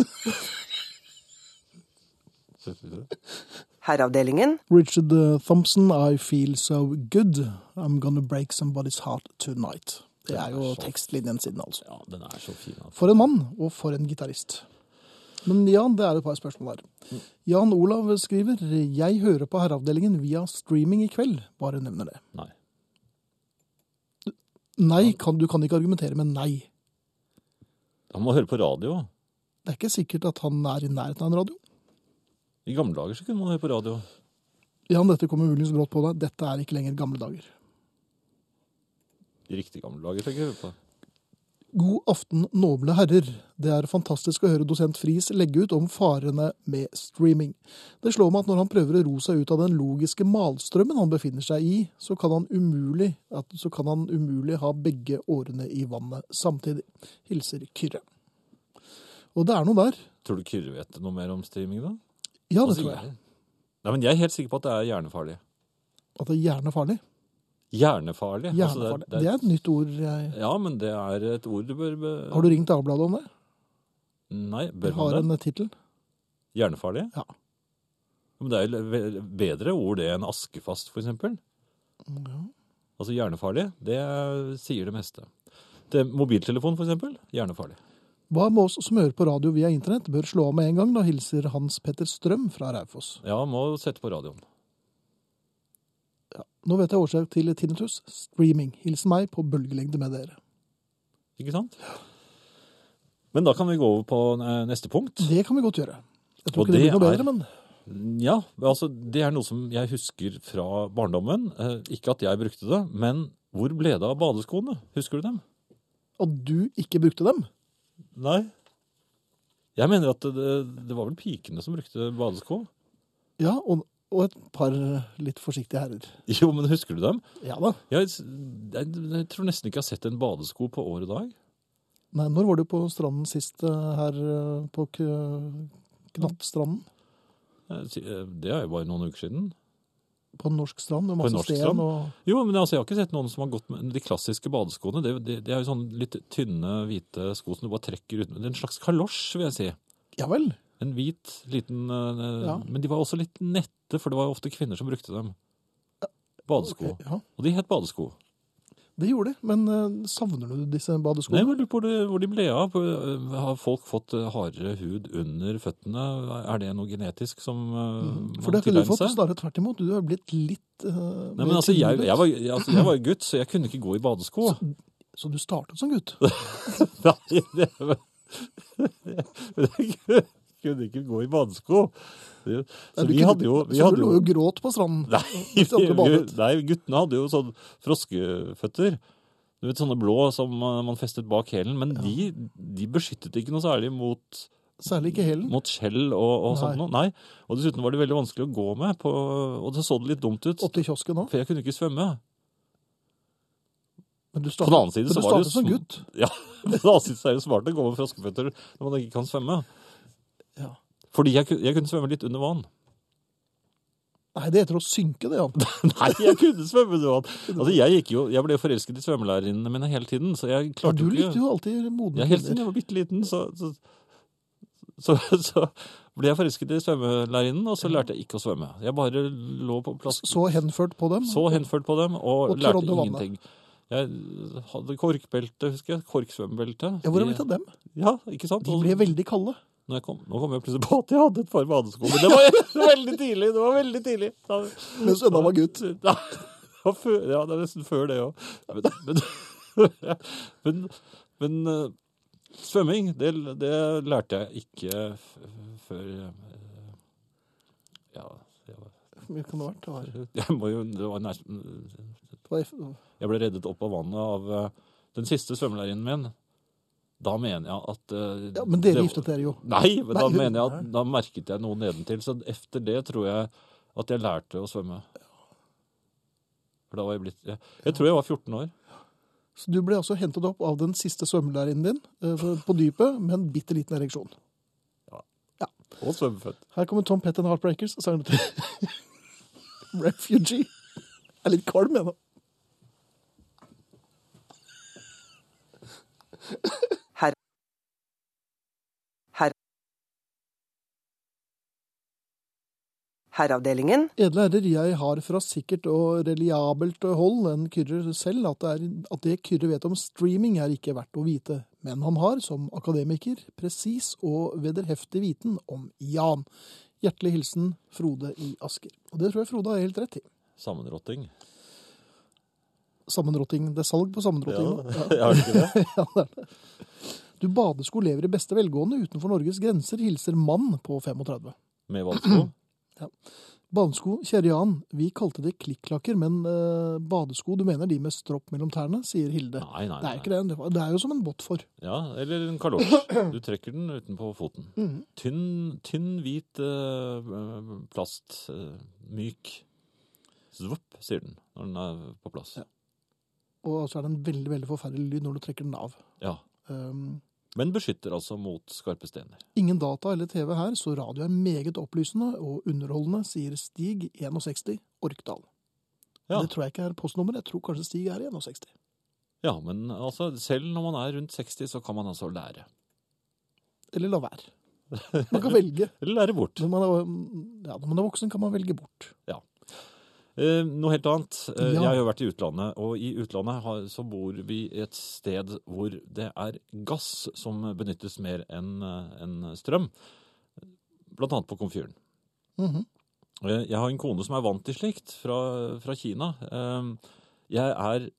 [SPEAKER 5] Herreavdelingen.
[SPEAKER 1] Richard eh, Thompson, I feel so good. I'm gonna break somebody's heart tonight. Det er jo tekstlinjen siden, altså.
[SPEAKER 2] Ja, den er så fin. altså.
[SPEAKER 1] For en mann, og for en gitarist. Men Jan, det er et par spørsmål der. Jan Olav skriver 'Jeg hører på Herreavdelingen via streaming i kveld'. Bare nevner det.
[SPEAKER 2] Nei.
[SPEAKER 1] Nei, kan, du kan ikke argumentere med nei.
[SPEAKER 2] Han må høre på radio.
[SPEAKER 1] Det er ikke sikkert at han er i nærheten av en radio.
[SPEAKER 2] I gamle dager så kunne man høre på radio.
[SPEAKER 1] Jan, dette kommer muligens brått på deg. Dette er ikke lenger gamle dager.
[SPEAKER 2] I riktig gamle dager fikk jeg høre på.
[SPEAKER 1] God aften, noble herrer. Det er fantastisk å høre dosent Friis legge ut om farene med streaming. Det slår meg at når han prøver å ro seg ut av den logiske malstrømmen han befinner seg i, så kan han umulig, at, så kan han umulig ha begge årene i vannet samtidig. Hilser Kyrre. Og det er noe der.
[SPEAKER 2] Tror du Kyrre vet noe mer om streaming, da?
[SPEAKER 1] Ja, det
[SPEAKER 2] Altså,
[SPEAKER 1] tror jeg.
[SPEAKER 2] Nei, men Jeg er helt sikker på at det er hjernefarlig.
[SPEAKER 1] At det er hjernefarlig.
[SPEAKER 2] Hjernefarlig. Altså,
[SPEAKER 1] Hjernefarlig. Det er et nytt ord. Jeg...
[SPEAKER 2] Ja, men det er et ord du bør be...
[SPEAKER 1] Har du ringt Dagbladet om det?
[SPEAKER 2] Nei,
[SPEAKER 1] Jeg
[SPEAKER 2] bør
[SPEAKER 1] har
[SPEAKER 2] man det?
[SPEAKER 1] en tittel.
[SPEAKER 2] Hjernefarlig?
[SPEAKER 1] Ja.
[SPEAKER 2] Men det er jo ve- bedre ord det enn askefast, for eksempel. Altså hjernefarlig, det sier det meste. Det, mobiltelefon, for eksempel, hjernefarlig.
[SPEAKER 1] Hva med oss som hører på radio via internett, bør slå av med en gang, da hilser Hans Petter Strøm fra Raufoss.
[SPEAKER 2] Ja, må sette på radioen.
[SPEAKER 1] Nå vet jeg årsak til tinnitus. Streaming. Hilsen meg på bølgelengde med dere.
[SPEAKER 2] Ikke sant? Men da kan vi gå over på eh, neste punkt.
[SPEAKER 1] Det kan vi godt gjøre. Jeg tror
[SPEAKER 2] Og
[SPEAKER 1] ikke det
[SPEAKER 2] det
[SPEAKER 1] blir noe
[SPEAKER 2] er-
[SPEAKER 1] bedre, men
[SPEAKER 2] Ja, altså det er noe som jeg husker fra barndommen. Eh, Ikke at jeg brukte det, men hvor ble det av badeskoene? Husker du dem?
[SPEAKER 1] at du ikke brukte dem.
[SPEAKER 2] Nei. Jeg mener at det, det var vel pikene som brukte badesko.
[SPEAKER 1] Ja, og, og et par litt forsiktige herrer.
[SPEAKER 2] Jo, men husker du dem?
[SPEAKER 1] Ja da.
[SPEAKER 2] Jeg, s- jeg, jeg tror nesten ikke jeg har sett en badesko på år og dag.
[SPEAKER 1] Nei, når var du på stranden sist eh, her eh, på K Knappstranden?
[SPEAKER 2] Jeg si- eh, Det er jo bare noen uker siden.
[SPEAKER 1] På en norsk strand med
[SPEAKER 2] På en
[SPEAKER 1] masse
[SPEAKER 2] norsk
[SPEAKER 1] sten
[SPEAKER 2] strand?
[SPEAKER 1] og
[SPEAKER 2] Jo, men altså, jeg har ikke sett noen som har gått med de klassiske badeskoene. Det, det, det er jo sånne litt tynne, hvite sko som du bare trekker ut. Det er en slags kalosj, vil jeg si.
[SPEAKER 1] Ja vel.
[SPEAKER 2] En hvit, liten eh,
[SPEAKER 1] Ja.
[SPEAKER 2] Men de var også litt nette, for det var jo ofte kvinner som brukte dem. Badesko.
[SPEAKER 1] Ok, ja,
[SPEAKER 2] Og de het badesko.
[SPEAKER 1] det gjorde det. Men eh, savner du disse
[SPEAKER 2] Nei,
[SPEAKER 1] badeskoene?
[SPEAKER 2] men jeg lurer på hvor de- hvor de ble av. Eh, Har folk fått eh, hardere hud under føttene? Er det noe genetisk som
[SPEAKER 1] Mm,
[SPEAKER 2] uh,
[SPEAKER 1] For det har ikke du fått, snarere tvert imot. Du har blitt litt eh,
[SPEAKER 2] Nei,
[SPEAKER 1] mer
[SPEAKER 2] men altså, jeg,
[SPEAKER 1] tynnhudet.
[SPEAKER 2] jeg, var, jeg, altså, jeg var jo gutt, så jeg kunne ikke gå i badesko.
[SPEAKER 1] Så du startet som gutt?
[SPEAKER 2] Nei, det var... Jeg kunne ikke gå i badesko. Det-
[SPEAKER 1] Nei,
[SPEAKER 2] Så
[SPEAKER 1] du
[SPEAKER 2] vi
[SPEAKER 1] kunne-
[SPEAKER 2] hadde jo... Vi
[SPEAKER 1] så
[SPEAKER 2] hadde
[SPEAKER 1] du lå jo og gråt på stranden?
[SPEAKER 2] Nei, vi,
[SPEAKER 1] Hvis du hadde badet.
[SPEAKER 2] nei, guttene hadde jo sånn froskeføtter. Du vet, sånne blå som eh, man festet bak hælen. Men de, de beskyttet ikke noe særlig mot,
[SPEAKER 1] Særlig ikke hælen.
[SPEAKER 2] mot skjell og, og
[SPEAKER 1] Nei.
[SPEAKER 2] sånt noe. Nei. Og dessuten var de veldig vanskelig å gå med, på, og det så det litt dumt ut.
[SPEAKER 1] Opp til kiosken nå.
[SPEAKER 2] For jeg kunne ikke svømme.
[SPEAKER 1] Men du
[SPEAKER 2] På
[SPEAKER 1] startet,
[SPEAKER 2] den annen side
[SPEAKER 1] men
[SPEAKER 2] så
[SPEAKER 1] du
[SPEAKER 2] var
[SPEAKER 1] startet
[SPEAKER 2] det jo
[SPEAKER 1] som
[SPEAKER 2] sm-
[SPEAKER 1] gutt.
[SPEAKER 2] Ja, på den annen side så er det smart å gå med froskeføtter når man ikke kan svømme.
[SPEAKER 1] Ja.
[SPEAKER 2] Fordi jeg, ku- jeg kunne svømme litt under vann.
[SPEAKER 1] Nei, det heter å synke, det. Ja.
[SPEAKER 2] Nei, jeg kunne svømme under vann! Altså, jeg, gikk jo, jeg ble jo forelsket i svømmelærerinnene mine hele tiden, så jeg
[SPEAKER 1] Ja,
[SPEAKER 2] klarte
[SPEAKER 1] du
[SPEAKER 2] jo ikke
[SPEAKER 1] likte jo alltid modne
[SPEAKER 2] Ja, helt
[SPEAKER 1] kvinner.
[SPEAKER 2] siden jeg var bitte liten, så, så, så, så ble jeg forelsket i svømmelærerinnen, og så lærte jeg ikke å svømme. Jeg bare lå på plass,
[SPEAKER 1] Så henført på dem.
[SPEAKER 2] så henført på dem,
[SPEAKER 1] Mm.
[SPEAKER 2] og,
[SPEAKER 1] Og
[SPEAKER 2] lærte
[SPEAKER 1] trådde vannet.
[SPEAKER 2] ingenting. Jeg hadde korkbelte, husker jeg. Korksvømmebelte.
[SPEAKER 1] Ja, Hvordan vet jeg dem?
[SPEAKER 2] Ja, ikke sant?
[SPEAKER 1] De
[SPEAKER 2] Og-
[SPEAKER 1] ble veldig kalde.
[SPEAKER 2] Når jeg kom, nå kom jeg plutselig på at jeg hadde et par badesko. Men det var veldig tidlig! det var veldig tidlig. Da,
[SPEAKER 1] Mens Ødna var gutt.
[SPEAKER 2] ja, det var før, ja, det er nesten før det òg. Men, men, men, men eh, svømming, det, det lærte jeg ikke f før eh, Ja, jeg, var-
[SPEAKER 1] Hvor mye kan det ha vært? Det var-
[SPEAKER 2] jeg må jo det var nesten,
[SPEAKER 1] det var F-
[SPEAKER 2] Jeg ble reddet opp av vannet av eh, den siste svømmelæreren min. Da mener jeg at eh,
[SPEAKER 1] Ja, Men dere
[SPEAKER 2] det-
[SPEAKER 1] giftet dere jo.
[SPEAKER 2] Nei, men
[SPEAKER 1] Nei,
[SPEAKER 2] da
[SPEAKER 1] hun-
[SPEAKER 2] mener jeg at da merket jeg noe nedentil. Så efter det tror jeg at jeg lærte å svømme. For da var jeg blitt Jeg, jeg tror jeg var 14 år.
[SPEAKER 1] Så du ble altså hentet opp av den siste svømmelæreren din eh, på dypet med en bitte liten ereksjon.
[SPEAKER 2] Og svømmefødt.
[SPEAKER 1] Her kommer Tom Pett and the Heartbreakers og sangen til Refugee. Jeg er litt kvalm ennå.
[SPEAKER 5] Her. Her. Herreavdelingen.
[SPEAKER 1] Edle herrer, jeg har fra sikkert og reliabelt hold en kyrre selv at det, er, at det Kyrre vet om streaming er ikke verdt å vite, men han har, som akademiker, presis og vederheftig viten om Jan. Hjertelig hilsen Frode i Asker. Og det tror jeg Frode har helt rett i.
[SPEAKER 2] Sammenrotting.
[SPEAKER 1] Sammenrotting. Det er salg på sammenrotting nå. Ja.
[SPEAKER 2] Jeg har ikke det.
[SPEAKER 1] Du badesko lever i beste velgående utenfor Norges grenser, hilser mann på 35.
[SPEAKER 2] Med vannsko.
[SPEAKER 1] Badesko, kjære Jan, vi kalte det klikklakker, men eh, badesko, du mener de med stropp mellom tærne, sier Hilde.
[SPEAKER 2] Nei,
[SPEAKER 1] Det er
[SPEAKER 2] nei.
[SPEAKER 1] jo
[SPEAKER 2] nei.
[SPEAKER 1] ikke det. det var- Det er jo som en båtfor.
[SPEAKER 2] Ja, eller en kalosj. Du trekker den utenpå foten.
[SPEAKER 1] Mhm.
[SPEAKER 2] Tynn, tynn hvit eh, plast. eh, myk. Zvupp, sier den når den er på plass.
[SPEAKER 1] Ja. Og så er det en veldig veldig forferdelig lyd når du trekker den av.
[SPEAKER 2] Ja.
[SPEAKER 1] Um,
[SPEAKER 2] Men beskytter altså mot skarpe stener.
[SPEAKER 1] ingen data eller TV her, så radio er meget opplysende og underholdende, sier Stig 61 Orkdal.
[SPEAKER 2] Ja.
[SPEAKER 1] Det tror jeg ikke er postnummer. Jeg tror kanskje Stig er 61.
[SPEAKER 2] Ja, men altså, selv når man er rundt 60, så kan man altså lære.
[SPEAKER 1] Eller la være. Man kan velge.
[SPEAKER 2] Eller lære bort.
[SPEAKER 1] Når man er, ja, når man er voksen, kan man velge bort.
[SPEAKER 2] Eh, noe helt annet. Eh,
[SPEAKER 1] Ja.
[SPEAKER 2] Jeg har jo vært i utlandet, og i utlandet har, så bor vi et sted hvor det er gass som benyttes mer enn eh, enn strøm. Blant annet på komfyren.
[SPEAKER 1] Mhm.
[SPEAKER 2] Eh, Jeg har en kone som er vant til slikt, fra, fra Kina. Eh, Jeg er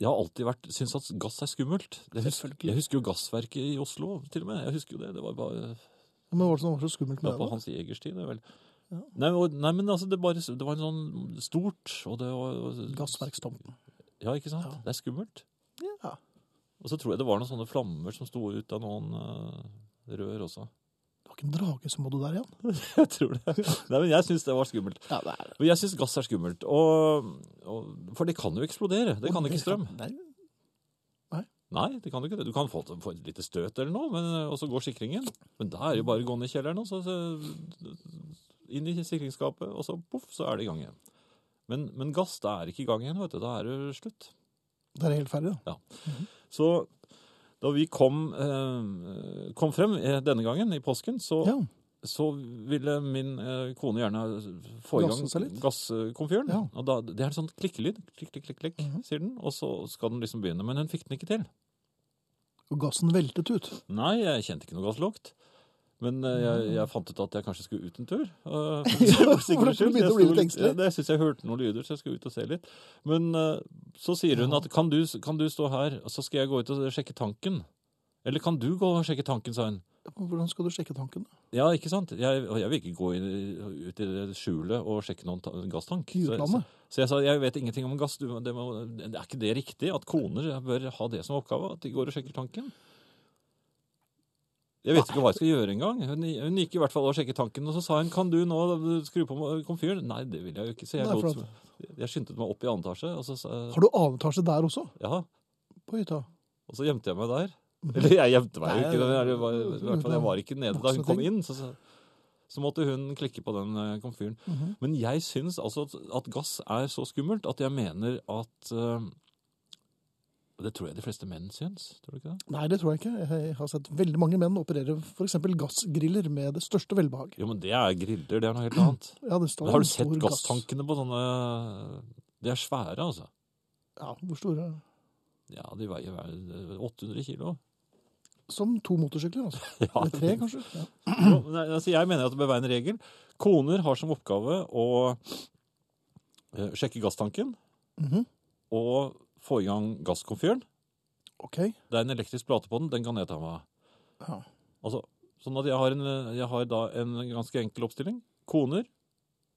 [SPEAKER 2] jeg har alltid vært, syntes at gass er skummelt. Jeg husker,
[SPEAKER 1] Selvfølgelig.
[SPEAKER 2] jeg husker jo gassverket i Oslo, til og med. Jeg husker jo det. Det var bare
[SPEAKER 1] Men hva var det som var så skummelt med
[SPEAKER 2] Ja,
[SPEAKER 1] det?
[SPEAKER 2] på
[SPEAKER 1] da?
[SPEAKER 2] Hans Jegers tid, det vel. Nei, og, nei, men altså, det, bare, det var en sånn stort, og det var... og-
[SPEAKER 1] Gassverkstomten.
[SPEAKER 2] Ja, ikke sant? Det er skummelt.
[SPEAKER 1] Ja.
[SPEAKER 2] Og så tror jeg det var noen sånne flammer som sto ut av noen eh, rør
[SPEAKER 1] Det
[SPEAKER 2] også.
[SPEAKER 1] var Søken drage, så må du der igjen.
[SPEAKER 2] Jeg tror det. Nei, men jeg syns det var skummelt.
[SPEAKER 1] Ja, det er
[SPEAKER 2] Og jeg syns gass er skummelt. Og, og, for det kan jo eksplodere. Det kan ikke strøm.
[SPEAKER 1] Nei,
[SPEAKER 2] Nei, det kan du ikke det. Du kan få, få et lite støt eller noe, men, og så går sikringen. Men da er det jo bare å gå ned i kjelleren, og så, så inn i sikringsskapet, og så poff, så er det i gang igjen. Men, men gass, da er det ikke i gang igjen, vet du. Da er det slutt.
[SPEAKER 1] det er helt ferdig, da.
[SPEAKER 2] Så da vi kom, eh, kom frem eh, denne gangen, i påsken, så,
[SPEAKER 1] Ja.
[SPEAKER 2] så ville min eh, kone gjerne få i gang
[SPEAKER 1] Gasse seg litt.
[SPEAKER 2] gasskomfyren.
[SPEAKER 1] Ja. Mhm.
[SPEAKER 2] Og da, det er en sånn klikkelyd. Klikk, klikk, klikk, klikk, sier den. Og så skal den liksom begynne. Men hun fikk den ikke til.
[SPEAKER 1] Og gassen veltet ut.
[SPEAKER 2] Nei, jeg kjente ikke noe gasslukt. Men eh, jeg, jeg fant ut at jeg kanskje skulle ut en tur. eh, for å
[SPEAKER 1] Mhm. for
[SPEAKER 2] sikre
[SPEAKER 1] da skulle du
[SPEAKER 2] skyld.
[SPEAKER 1] begynne å
[SPEAKER 2] Jeg
[SPEAKER 1] bli
[SPEAKER 2] sto
[SPEAKER 1] litt engstelig.
[SPEAKER 2] ja, det- Jeg syns jeg hørte noen lyder, så jeg skulle ut og se litt. Men eh, så sier hun at kan du, kan du stå her, og så skal jeg gå ut og sjekke tanken. Eller kan du gå og sjekke tanken, sa hun.
[SPEAKER 1] Hvordan skal du sjekke tanken? da?
[SPEAKER 2] Ja, ikke sant? Jeg, og jeg vil ikke gå inn, ut i det skjulet og sjekke noen ta gasstank.
[SPEAKER 1] I
[SPEAKER 2] Så-
[SPEAKER 1] utlandet?
[SPEAKER 2] Så, så jeg sa jeg vet ingenting om gass. Du, må- det må, er ikke det riktig at koner bør ha det som oppgave? At de går og sjekker tanken? Jeg vet ikke hva jeg skal gjøre engang. Hun, hun gikk i hvert fall og sjekket tanken, og så sa hun kan du nå skru på komfyren? Nei, det vil jeg jo ikke. Så jeg,
[SPEAKER 1] Nei, for
[SPEAKER 2] lot, jeg skyndte meg opp i andre etasje, og så sa
[SPEAKER 1] Har du avtale der også?
[SPEAKER 2] ja,
[SPEAKER 1] På hytta?
[SPEAKER 2] og så gjemte jeg meg der. Eller jeg gjemte meg
[SPEAKER 1] Mhm. Nei,
[SPEAKER 2] jo ikke, men jeg var, i hvert fall jeg var ikke nede da hun kom
[SPEAKER 1] Voksne ting.
[SPEAKER 2] inn. Så, så, så måtte hun klikke på den eh, komfyren.
[SPEAKER 1] Mhm.
[SPEAKER 2] Men jeg syns altså at, at gass er så skummelt at jeg mener at eh, og Det tror jeg de fleste menn syns, tror du ikke det?
[SPEAKER 1] Nei, det tror jeg ikke. Jeg har sett veldig mange menn operere f.eks. gassgriller med det største velbehag.
[SPEAKER 2] Jo, men det er griller, det er noe helt annet.
[SPEAKER 1] Ja, det står
[SPEAKER 2] Men har du
[SPEAKER 1] en stor
[SPEAKER 2] sett
[SPEAKER 1] gass-
[SPEAKER 2] gasstankene på sånne De er svære, altså.
[SPEAKER 1] Ja, hvor store?
[SPEAKER 2] Ja, de veier vel 800 kilo.
[SPEAKER 1] Som to motorsykler, altså.
[SPEAKER 2] Ja,
[SPEAKER 1] Eller tre, kanskje. Ja.
[SPEAKER 2] Jo, nei, altså jeg mener at det bør være en regel. Koner har som oppgave å eh, sjekke gasstanken
[SPEAKER 1] Mhm.
[SPEAKER 2] og få i gang gasskomfyren.
[SPEAKER 1] OK.
[SPEAKER 2] Det er en elektrisk plate på den, den kan jeg ta meg av.
[SPEAKER 1] Ja.
[SPEAKER 2] Altså, sånn at jeg har, en, eh, jeg har da en ganske enkel oppstilling. Koner,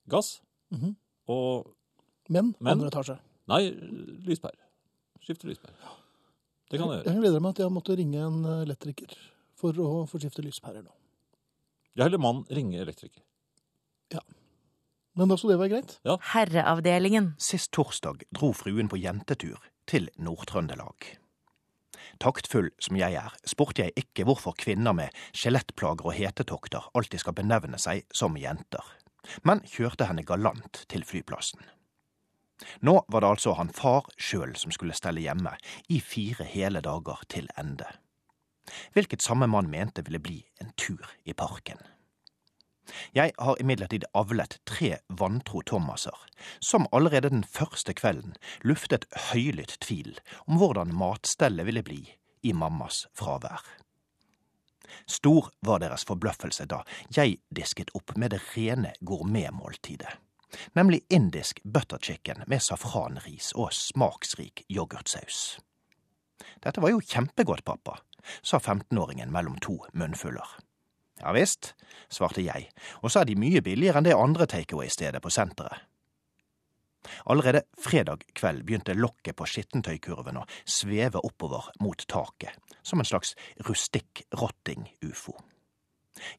[SPEAKER 2] gass
[SPEAKER 1] Mhm.
[SPEAKER 2] og
[SPEAKER 1] Men,
[SPEAKER 2] Men-
[SPEAKER 1] andre etasje.
[SPEAKER 2] Nei, lyspære. Skifte lyspære. Det kan jeg gjøre.
[SPEAKER 1] Jeg gleder meg til jeg måtte ringe en elektriker for å få skifte lyspærer nå.
[SPEAKER 2] Jeg heller mann ringe elektriker.
[SPEAKER 1] Men da skal det være greit.
[SPEAKER 3] Herreavdelingen.
[SPEAKER 6] Sist torsdag dro fruen på jentetur til Nord-Trøndelag. Taktfull som jeg er, spurte jeg ikke hvorfor kvinner med skjelettplager og hetetokter alltid skal benevne seg som jenter, men kjørte henne galant til flyplassen. Nå var det altså han far sjøl som skulle stelle hjemme i fire hele dager til ende, hvilket samme mann mente ville bli en tur i parken. Jeg har imidlertid avlet tre vantro Thomaser, som allerede den første kvelden luftet høylytt tvil om hvordan matstellet ville bli i mammas fravær. Stor var deres forbløffelse da jeg disket opp med det rene gourmetmåltidet, nemlig indisk butter chicken med safranris og smaksrik yoghurtsaus. Dette var jo kjempegodt, pappa, sa 15-åringen mellom to munnfuller. Ja visst, svarte jeg, og så er de mye billigere enn det andre takeaway-stedet på senteret. Allerede fredag kveld begynte lokket på skittentøykurven å sveve oppover mot taket, som en slags rustikk rotting-ufo.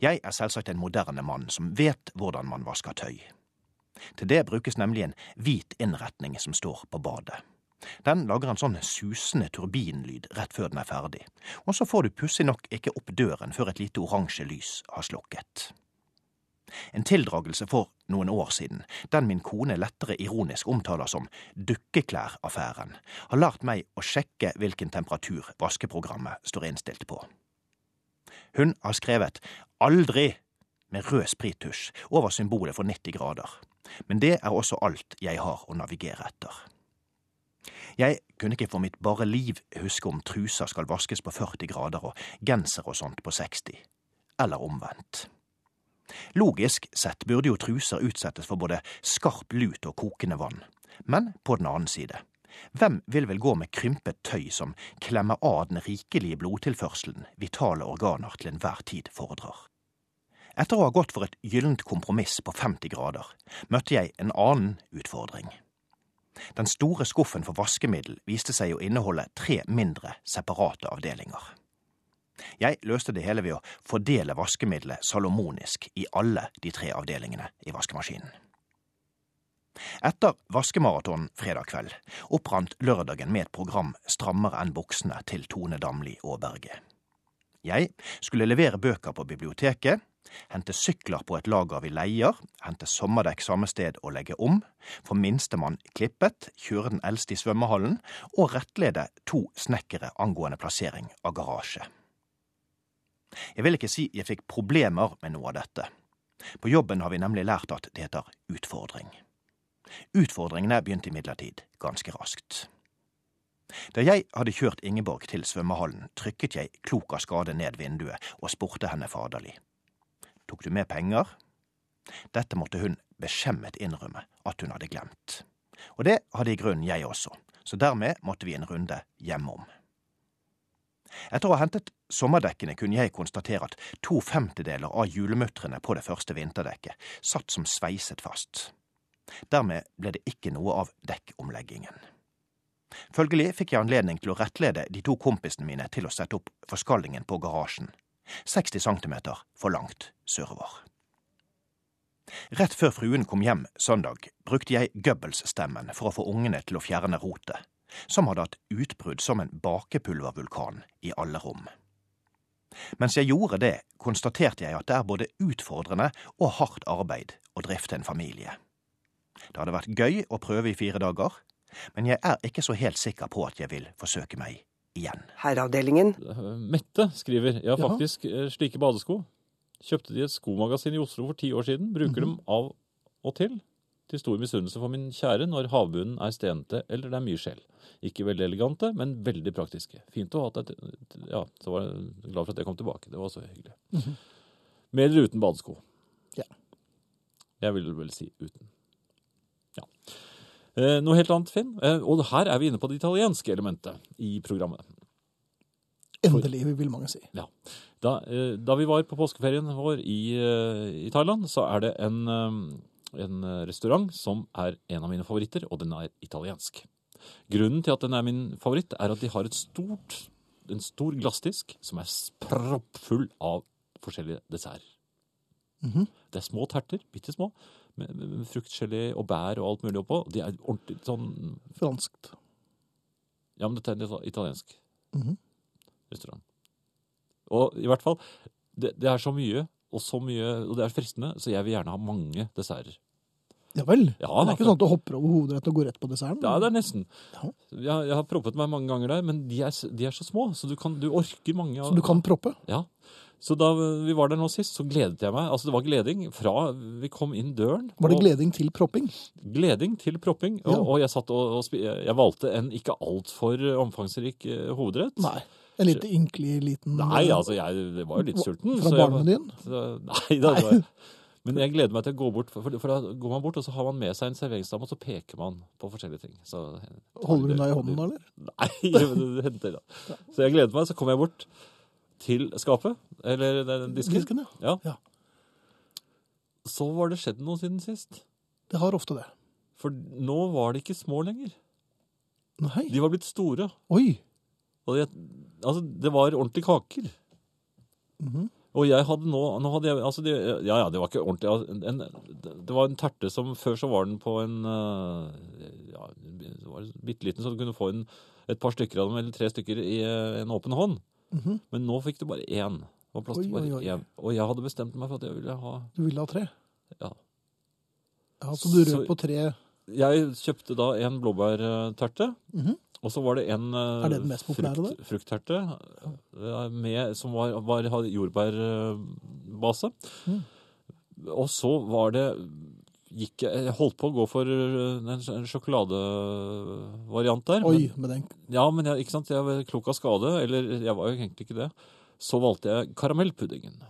[SPEAKER 6] Jeg er selvsagt en moderne mann som vet hvordan man vasker tøy. Til det brukes nemlig en hvit innretning som står på badet. Den lager en sånn susende turbinlyd rett før den er ferdig, og så får du pussig nok ikke opp døren før et lite oransje lys har slukket. En tildragelse for noen år siden, den min kone lettere ironisk omtaler som dukkeklæraffæren, har lært meg å sjekke hvilken temperatur vaskeprogrammet står innstilt på. Hun har skrevet aldri med rød sprittusj over symbolet for 90 grader, men det er også alt jeg har å navigere etter. Jeg kunne ikke for mitt bare liv huske om truser skal vaskes på 40 grader og genser og sånt på 60. Eller omvendt. Logisk sett burde jo truser utsettes for både skarp lut og kokende vann. Men på den annen side, hvem vil vel gå med krympet tøy som klemmer av den rikelige blodtilførselen vitale organer til enhver tid fordrar? Etter å ha gått for et gyllent kompromiss på 50 grader, møtte jeg en annen utfordring. Den store skuffen for vaskemiddel viste seg å inneholde tre mindre, separate avdelinger. Jeg løste det hele ved å fordele vaskemiddelet salomonisk i alle de tre avdelingene i vaskemaskinen. Etter vaskemaratonen fredag kveld opprant lørdagen med et program strammere enn buksene til Tone Damli og Berge. Jeg skulle levere bøker på biblioteket, hente sykler på et lager vi leier, hente sommerdekk samme sted og legge om, få minstemann klippet, kjøre den eldste i svømmehallen og rettlede to snekkere angående plassering av garasje. Jeg vil ikke si jeg fikk problemer med noe av dette. På jobben har vi nemlig lært at det heter utfordring. Utfordringene begynte imidlertid ganske raskt. Da jeg hadde kjørt Ingeborg til svømmehallen, trykket jeg klok av skade ned vinduet og spurte henne faderlig. Tok du med penger? Dette måtte hun beskjemmet innrømme at hun hadde glemt. Og det hadde i grunnen jeg også, så dermed måtte vi en runde hjemom. Etter å ha hentet sommerdekkene kunne jeg konstatere at to femtedeler av hjulmutterne på det første vinterdekket satt som sveiset fast. Dermed ble det ikke noe av dekkomleggingen. Følgelig fikk jeg anledning til å rettlede de to kompisene mine til å sette opp forskallingen på garasjen, 60 cm for langt sørover. Rett før fruen kom hjem søndag, brukte jeg Goebbels-stemmen for å få ungene til å fjerne rotet, som hadde hatt utbrudd som en bakepulvervulkan i alle rom. Mens jeg gjorde det, konstaterte jeg at det er både utfordrende og hardt arbeid å drifte en familie. Det hadde vært gøy å prøve i fire dager, men jeg er ikke så helt sikker på at jeg vil forsøke meg igjen.
[SPEAKER 5] Herreavdelingen.
[SPEAKER 2] Eh, Mette skriver Jeg har
[SPEAKER 1] Jaha.
[SPEAKER 2] faktisk eh, slike badesko. Kjøpte de i et skomagasin i Oslo for ti år siden. Bruker dem
[SPEAKER 1] Mhm.
[SPEAKER 2] av og til. Til stor misunnelse for min kjære når havbunnen er stenete eller det er mye skjell. Ikke veldig elegante, men veldig praktiske. Fint å ha hatt et Ja, så var jeg glad for at jeg kom tilbake. Det var så hyggelig. Med eller uten badesko?
[SPEAKER 1] Mhm. Ja.
[SPEAKER 2] Jeg vil vel si uten. Ja. Eh, noe helt annet, Finn. Eh, og her er vi inne på det italienske elementet i programmet.
[SPEAKER 1] Endelig, vil mange si.
[SPEAKER 2] Ja. Da, eh, da vi var på påskeferien vår i, eh, i Thailand, så er det en, eh, en eh, restaurant som er en av mine favoritter, og den er italiensk. Grunnen til at den er min favoritt, er at de har et stort, en stor glassdisk som er proppfull av forskjellige desserter.
[SPEAKER 1] Mhm.
[SPEAKER 2] Det er små terter, bitte små, med, med, med fruktgelé og bær og alt mulig oppå. De er ordentlig sånn
[SPEAKER 1] Franskt.
[SPEAKER 2] ja, men dette er en ita- italiensk
[SPEAKER 1] Mhm.
[SPEAKER 2] restaurant. Og i hvert fall, det, det er så mye, og så mye, og det er fristende, så jeg vil gjerne ha mange desserter.
[SPEAKER 1] Ja vel.
[SPEAKER 2] Ja,
[SPEAKER 1] det er ikke
[SPEAKER 2] da.
[SPEAKER 1] sånn at du hopper over hovedretten og går rett på desserten.
[SPEAKER 2] Ja, det er nesten.
[SPEAKER 1] Ja.
[SPEAKER 2] Jeg, jeg har proppet meg mange ganger der, men de er, s- de er så små, så du, kan, du orker mange. av-
[SPEAKER 1] Så du kan proppe.
[SPEAKER 2] Ja. Så da vi var der nå sist, så gledet jeg meg. Altså, det var gleding fra vi kom inn døren.
[SPEAKER 1] Var det
[SPEAKER 2] og-
[SPEAKER 1] gleding til propping?
[SPEAKER 2] gleding til propping, og,
[SPEAKER 1] Ja.
[SPEAKER 2] og jeg satt og, og spi- jeg valgte en ikke altfor omfangsrik eh, hovedrett.
[SPEAKER 1] Nei. En litt ynkelig liten
[SPEAKER 2] Nei, altså, jeg det var jo litt
[SPEAKER 1] Hva-
[SPEAKER 2] sulten.
[SPEAKER 1] fra
[SPEAKER 2] så jeg-
[SPEAKER 1] barnemenyen?
[SPEAKER 2] så- Nei, da var jeg. Men jeg gleder meg til å gå bort, for, for da går man bort, og så har man med seg en serveringsdame, og så peker man på forskjellige ting. Så,
[SPEAKER 1] Holder hun deg i hånden da, eller?
[SPEAKER 2] Nei, det hender da. Så jeg gleder meg, så kommer jeg bort til skapet, eller den disken.
[SPEAKER 1] Disken, ja.
[SPEAKER 2] Ja.
[SPEAKER 1] Ja.
[SPEAKER 2] Så var det skjedd noe siden sist.
[SPEAKER 1] Det har ofte det.
[SPEAKER 2] For nå var de ikke små lenger.
[SPEAKER 1] Nei.
[SPEAKER 2] De var blitt store.
[SPEAKER 1] Oi.
[SPEAKER 2] Og jeg, altså, det var ordentlige kaker.
[SPEAKER 1] Mhm,
[SPEAKER 2] Og jeg hadde nå, nå hadde jeg, altså det, Ja, ja, det var ikke ordentlig. altså, En, det var en terte som Før så var den på en eh, ja, det var bitte liten, så du kunne få en, et par stykker av dem, eller tre stykker, i eh, en åpen hånd.
[SPEAKER 1] Mhm.
[SPEAKER 2] Men nå fikk du bare én. Det var plass til
[SPEAKER 1] Oi, oi,
[SPEAKER 2] bare
[SPEAKER 1] oi.
[SPEAKER 2] én. Og jeg hadde bestemt meg for at jeg ville ha
[SPEAKER 1] Du ville ha tre?
[SPEAKER 2] Ja.
[SPEAKER 1] Ja, Så du
[SPEAKER 2] Så-
[SPEAKER 1] rød på tre.
[SPEAKER 2] Jeg kjøpte da en blåbærterte.
[SPEAKER 1] Mhm.
[SPEAKER 2] Og så var det en eh,
[SPEAKER 1] Er det den mest populære,
[SPEAKER 2] frukt, fruktterte eh, med, som var, var, hadde jordbærbase.
[SPEAKER 1] Mhm.
[SPEAKER 2] Og så var det gikk, Jeg jeg holdt på å gå for eh, en, sj- en sjokoladevariant der.
[SPEAKER 1] Oi,
[SPEAKER 2] Men,
[SPEAKER 1] med den.
[SPEAKER 2] ja, men jeg, ikke sant, jeg var klok av skade. Eller jeg var jo egentlig ikke det. Så valgte jeg karamellpuddingen.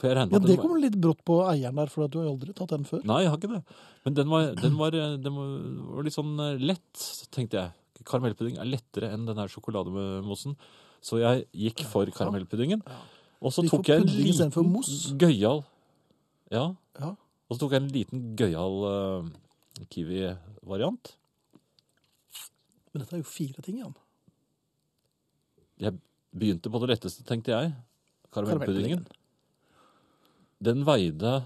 [SPEAKER 2] For jeg regnet
[SPEAKER 1] Ja,
[SPEAKER 2] med at
[SPEAKER 1] Det
[SPEAKER 2] den var-
[SPEAKER 1] kommer litt brått på eieren der, for at du har aldri tatt den før.
[SPEAKER 2] Nei, jeg har ikke det. Men den var, den var, eh, den var litt sånn lett, så tenkte jeg. Karamellpudding er lettere enn den her sjokolademossen. Så jeg gikk for karamellpuddingen. Og så
[SPEAKER 1] Du gikk for
[SPEAKER 2] tok jeg en
[SPEAKER 1] pudding istedenfor
[SPEAKER 2] liten
[SPEAKER 1] mos?
[SPEAKER 2] gøyal Ja.
[SPEAKER 1] Ja.
[SPEAKER 2] Og så tok jeg en liten gøyal eh, kiwi-variant.
[SPEAKER 1] Men dette er jo fire ting igjen.
[SPEAKER 2] Begynte på det letteste, tenkte jeg. Karamellpuddingen.
[SPEAKER 1] Karamellpuddingen.
[SPEAKER 2] Den veide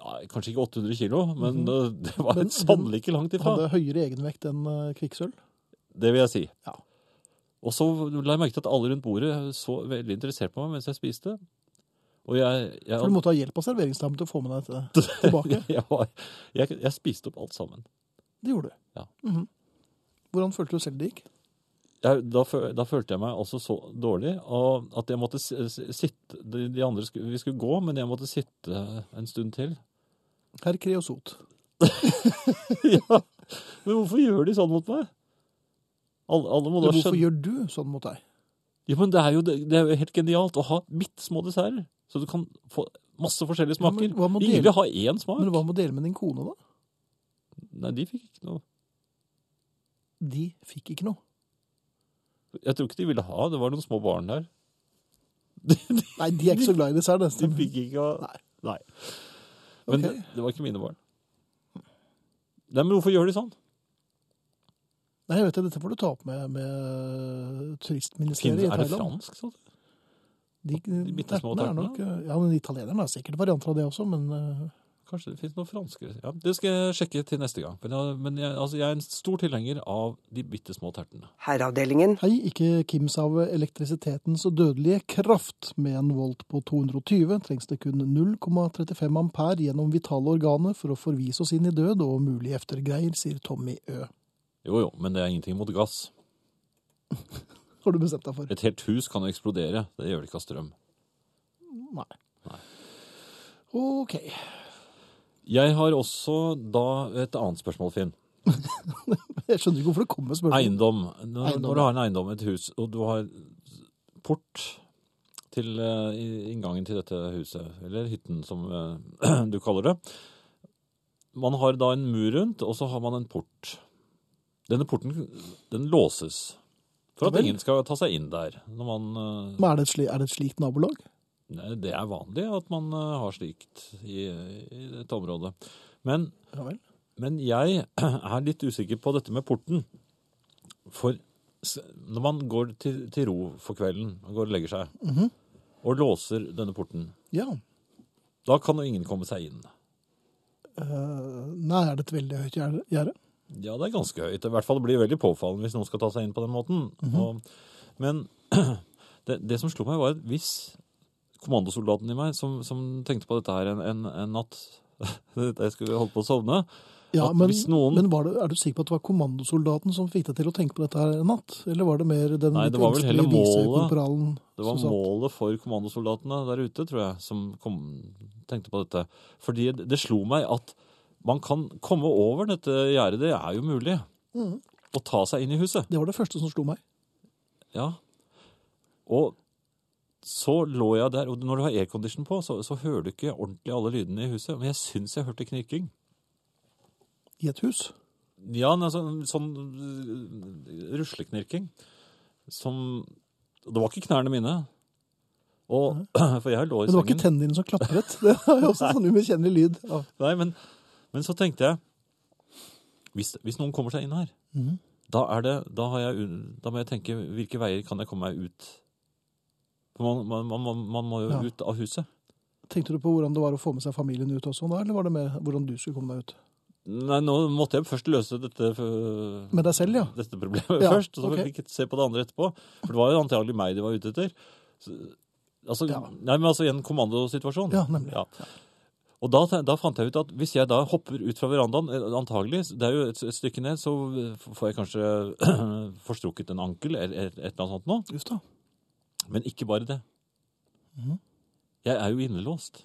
[SPEAKER 2] ja, kanskje ikke 800 kilo, men eh, det var
[SPEAKER 1] Mhm. Men
[SPEAKER 2] sannelig ikke langt ifra.
[SPEAKER 1] Hadde høyere egenvekt enn eh, kvikksølv.
[SPEAKER 2] Det vil jeg si.
[SPEAKER 1] Ja.
[SPEAKER 2] Og så la jeg merke til at alle rundt bordet så veldig interessert på meg mens jeg spiste. Og jeg, jeg,
[SPEAKER 1] For du måtte ha hjelp av serveringsdamen til å få med deg til- tilbake.
[SPEAKER 2] jeg, var, jeg, jeg spiste opp alt sammen.
[SPEAKER 1] Det gjorde du.
[SPEAKER 2] Ja.
[SPEAKER 1] Mhm. Hvordan følte du selv det gikk?
[SPEAKER 2] Jeg, da, fø- da følte jeg meg altså så dårlig og at jeg måtte s- s- sitte de, de andre skulle, Vi skulle gå, men jeg måtte sitte en stund til.
[SPEAKER 1] Herr Kreosot.
[SPEAKER 2] ja. Men hvorfor gjør de sånn mot meg? Alle, alle må da
[SPEAKER 1] Hvorfor
[SPEAKER 2] skjønne
[SPEAKER 1] gjør du sånn mot deg?
[SPEAKER 2] ja, men det, er jo, det, det er jo helt genialt å ha bitte små desserter, så du kan få masse forskjellige
[SPEAKER 1] Ja, men
[SPEAKER 2] smaker.
[SPEAKER 1] hva må
[SPEAKER 2] Ingen
[SPEAKER 1] dele-
[SPEAKER 2] vil ha én smak.
[SPEAKER 1] Men hva med å dele med din kone, da?
[SPEAKER 2] Nei, de fikk ikke noe.
[SPEAKER 1] De fikk ikke noe.
[SPEAKER 2] Jeg tror ikke de ville ha. Det var noen små barn der.
[SPEAKER 1] Nei, de er ikke så glad i dessert,
[SPEAKER 2] De
[SPEAKER 1] nesten.
[SPEAKER 2] fikk ikke ha
[SPEAKER 1] Mm. Nei.
[SPEAKER 2] Nei. Men
[SPEAKER 1] Ok.
[SPEAKER 2] det, det var ikke mine barn. Nei, men hvorfor gjør de sånn?
[SPEAKER 1] Nei, jeg vet det, dette får du ta opp med, med
[SPEAKER 2] Finnes,
[SPEAKER 1] turistministeriet i
[SPEAKER 2] er det
[SPEAKER 1] Thailand.
[SPEAKER 2] fransk? Sånn?
[SPEAKER 1] De,
[SPEAKER 2] de bitte små
[SPEAKER 1] ertene er
[SPEAKER 2] tartene?
[SPEAKER 1] nok, eh, Ja, men italienerne har sikkert varianter av det også, men eh,
[SPEAKER 2] Kanskje det finnes noen franske ja, Det skal jeg sjekke til neste gang. Men, jeg, men jeg, altså, jeg er en stor tilhenger av de bitte små tertene.
[SPEAKER 5] Herreavdelingen.
[SPEAKER 1] Hei, ikke kims av elektrisitetens dødelige kraft. Med en volt på 220 trengs det kun 0,35 ampere gjennom vitale organer for å forvise oss inn i død og mulige eftergreier, sier Tommy Ø.
[SPEAKER 2] Jo jo, men det er ingenting mot gass.
[SPEAKER 1] Har du bestemt deg for?
[SPEAKER 2] Et helt hus kan jo eksplodere. Det gjør det ikke av strøm.
[SPEAKER 1] Nei. OK.
[SPEAKER 2] Jeg har også da et annet spørsmål, Finn.
[SPEAKER 1] Jeg skjønner ikke hvorfor det kommer spørsmål.
[SPEAKER 2] Eiendom. Når,
[SPEAKER 1] Eiendom,
[SPEAKER 2] når du har en eiendom, et hus, og du har port til eh, i- inngangen til dette huset, eller hytten som eh, du kaller det. Man har da en mur rundt, og så har man en port. Denne porten, den låses. For at
[SPEAKER 1] Vel.
[SPEAKER 2] ingen skal ta seg inn der. Når man, eh,
[SPEAKER 1] Men er det, et sli, er det et slikt nabolag?
[SPEAKER 2] nei, det er vanlig at man eh, har slikt i, i dette området. Men
[SPEAKER 1] Ja vel.
[SPEAKER 2] men jeg er litt usikker på dette med porten. For s- når man går til, til ro for kvelden, man går og legger seg, og låser denne porten,
[SPEAKER 1] Ja.
[SPEAKER 2] da kan jo ingen komme seg inn.
[SPEAKER 1] Eh, nei, er det et veldig høyt gjerde? gjerde?
[SPEAKER 2] Ja, det er ganske høyt. I hvert fall blir det veldig påfallende hvis noen skal ta seg inn på den måten. og, men det, det som slo meg, var at hvis kommandosoldaten i meg, som, som tenkte på dette her en, en, en natt da Jeg skulle holdt på å sovne.
[SPEAKER 1] Ja,
[SPEAKER 2] At
[SPEAKER 1] men,
[SPEAKER 2] hvis noen-
[SPEAKER 1] men var det, er du sikker på at det var kommandosoldaten som fikk deg til å tenke på dette her en natt? Eller var det mer den
[SPEAKER 2] Nei,
[SPEAKER 1] litt
[SPEAKER 2] det var vel heller
[SPEAKER 1] engstelige
[SPEAKER 2] målet.
[SPEAKER 1] visekorporalen
[SPEAKER 2] Det var
[SPEAKER 1] som satt?
[SPEAKER 2] målet for kommandosoldatene der ute, tror jeg, som kom, tenkte på dette. Fordi det det slo meg at man kan komme over dette gjerdet, det er jo mulig,
[SPEAKER 1] Mhm.
[SPEAKER 2] og ta seg inn i huset.
[SPEAKER 1] Det var det første som slo meg.
[SPEAKER 2] Ja. Og så lå jeg der, og når du har aircondition på, så, så hører du ikke ordentlig alle lydene i huset, men jeg syns jeg hørte knirking.
[SPEAKER 1] I et hus.
[SPEAKER 2] Ja, nei, sånn, sånn øh, rusleknirking. Som Det var ikke knærne mine. Og, for jeg lå i
[SPEAKER 1] Mhm. Men det var ikke
[SPEAKER 2] sengen.
[SPEAKER 1] tennene dine som klapret. Det er jo også sånn umiskjennelig lyd. Ja.
[SPEAKER 2] Nei, men, men så tenkte jeg hvis, hvis noen kommer seg inn her,
[SPEAKER 1] Mhm.
[SPEAKER 2] da, er det, da, har jeg, un- da må jeg tenke hvilke veier kan jeg komme meg ut? For man, man, man, man, man må jo
[SPEAKER 1] Ja.
[SPEAKER 2] ut av huset.
[SPEAKER 1] Tenkte du på hvordan det var å få med seg familien ut også da, eller var det mer hvordan du skulle komme deg ut?
[SPEAKER 2] Nei, nå måtte jeg først løse dette, øh,
[SPEAKER 1] Med deg selv, ja.
[SPEAKER 2] dette problemet
[SPEAKER 1] Ja,
[SPEAKER 2] først, og så
[SPEAKER 1] ok.
[SPEAKER 2] fikk jeg se på det andre etterpå. For det var jo antagelig meg de var ute etter. Så, altså,
[SPEAKER 1] Ja.
[SPEAKER 2] Nei, men altså i en kommandosituasjon.
[SPEAKER 1] Ja, nemlig.
[SPEAKER 2] Ja. Og da, te- da fant jeg ut at hvis jeg da hopper ut fra verandaen, eh, antagelig, det er jo et, et stykke ned, så eh, får jeg kanskje forstrukket en ankel eller et, et eller annet sånt nå.
[SPEAKER 1] Just da.
[SPEAKER 2] Men ikke bare det.
[SPEAKER 1] Mhm.
[SPEAKER 2] Jeg er jo innelåst.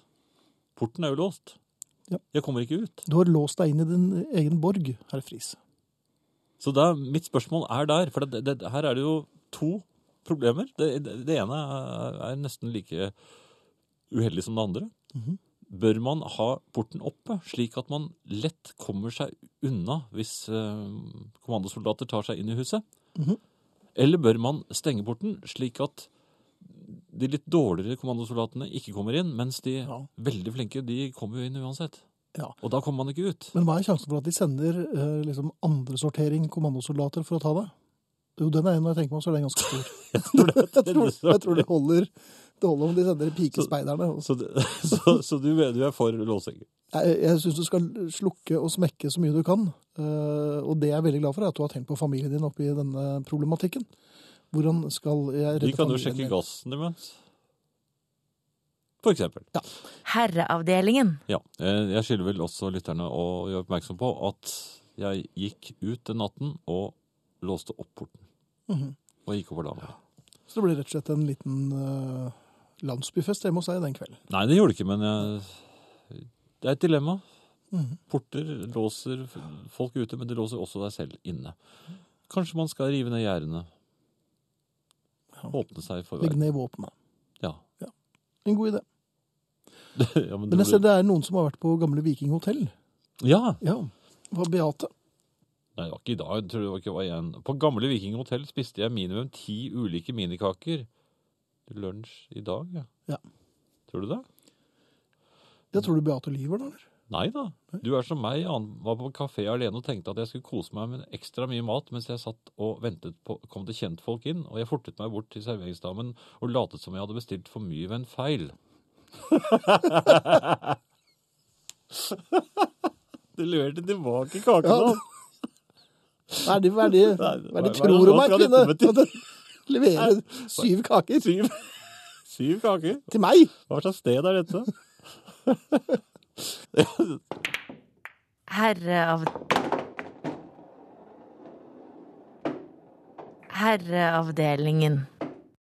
[SPEAKER 2] Porten er jo låst.
[SPEAKER 1] Ja.
[SPEAKER 2] Jeg kommer ikke ut.
[SPEAKER 1] Du har låst deg inn i din egen borg, herr Friis.
[SPEAKER 2] Så da, mitt spørsmål er der, for det, det, her er det jo to problemer. Det, det, det ene er- er nesten like uheldig som det andre.
[SPEAKER 1] Mhm.
[SPEAKER 2] Bør man ha porten oppe, slik at man lett kommer seg unna hvis eh, kommandosoldater tar seg inn i huset?
[SPEAKER 1] Mhm.
[SPEAKER 2] Eller bør man stenge porten, slik at de litt dårligere kommandosoldatene ikke kommer inn, mens de
[SPEAKER 1] Ja.
[SPEAKER 2] veldig flinke de kommer jo inn uansett?
[SPEAKER 1] Ja.
[SPEAKER 2] Og da kommer man ikke ut.
[SPEAKER 1] Men hva er sjansen for at de sender eh, liksom andresortering kommandosoldater for å ta deg? Jo, den er når jeg tenker meg om, så er den ganske stor.
[SPEAKER 2] Tror det,
[SPEAKER 1] Jeg tror, jeg tror det holder. Det holder om de sender pikespeiderne. og-
[SPEAKER 2] Så, det- så, så du, mener du er for låsegger?
[SPEAKER 1] Jeg, jeg syns du skal slukke og smekke så mye du kan. Eh, og det jeg er veldig glad for, er at du har tenkt på familien din oppi denne problematikken. Hvordan skal jeg redde
[SPEAKER 2] De kan jo
[SPEAKER 1] familien
[SPEAKER 2] sjekke
[SPEAKER 1] min?
[SPEAKER 2] gassen imens. For eksempel.
[SPEAKER 3] Herreavdelingen.
[SPEAKER 2] Ja. eh, Jeg skylder vel også lytterne å gjøre oppmerksom på at jeg gikk ut den natten og låste opp porten.
[SPEAKER 1] Mhm.
[SPEAKER 2] Og gikk over dagen.
[SPEAKER 1] Så det blir rett og slett en liten eh, landsbyfest hjemme hos deg den kvelden.
[SPEAKER 2] Nei, det gjorde det ikke, men jeg, det er et dilemma.
[SPEAKER 1] Mhm.
[SPEAKER 2] Porter låser folk ute, men det låser også deg selv inne. Kanskje man skal rive ned gjerdene. Åpne seg for
[SPEAKER 1] Legg
[SPEAKER 2] verden.
[SPEAKER 1] ned våpenet.
[SPEAKER 2] Ja.
[SPEAKER 1] En god idé.
[SPEAKER 2] ja, men det
[SPEAKER 1] Men jeg ser
[SPEAKER 2] blir...
[SPEAKER 1] det er noen som har vært på gamle vikinghotell.
[SPEAKER 2] ja.
[SPEAKER 1] Ja. Det var Beate.
[SPEAKER 2] Nei, det var ikke i dag. Jeg tror det var ikke det var igjen. På gamle Viking Hotel spiste jeg minimum ti ulike minikaker til lunsj i dag. Ja.
[SPEAKER 1] Ja.
[SPEAKER 2] Tror du det?
[SPEAKER 1] Jeg tror du Beate lyver, da? eller?
[SPEAKER 2] Nei da. Du er som meg. Han var på kafé alene og tenkte at jeg skulle kose meg med ekstra mye mat mens jeg satt og ventet på kom det kjentfolk inn, og jeg fortet meg bort til serveringsdamen og latet som jeg hadde bestilt for mye ved en feil. du leverte tilbake kaken,
[SPEAKER 1] Ja.
[SPEAKER 2] da.
[SPEAKER 1] Hva er det, hva er det, hva
[SPEAKER 2] Nei,
[SPEAKER 1] er det
[SPEAKER 2] hva-
[SPEAKER 1] tror om
[SPEAKER 2] hva
[SPEAKER 1] meg,
[SPEAKER 2] skal dette
[SPEAKER 1] kvinne? Leverer syv kaker
[SPEAKER 2] Syv, syv kaker.
[SPEAKER 1] til meg?
[SPEAKER 2] Hva slags sted er dette?
[SPEAKER 3] Herreav... Herreavdelingen.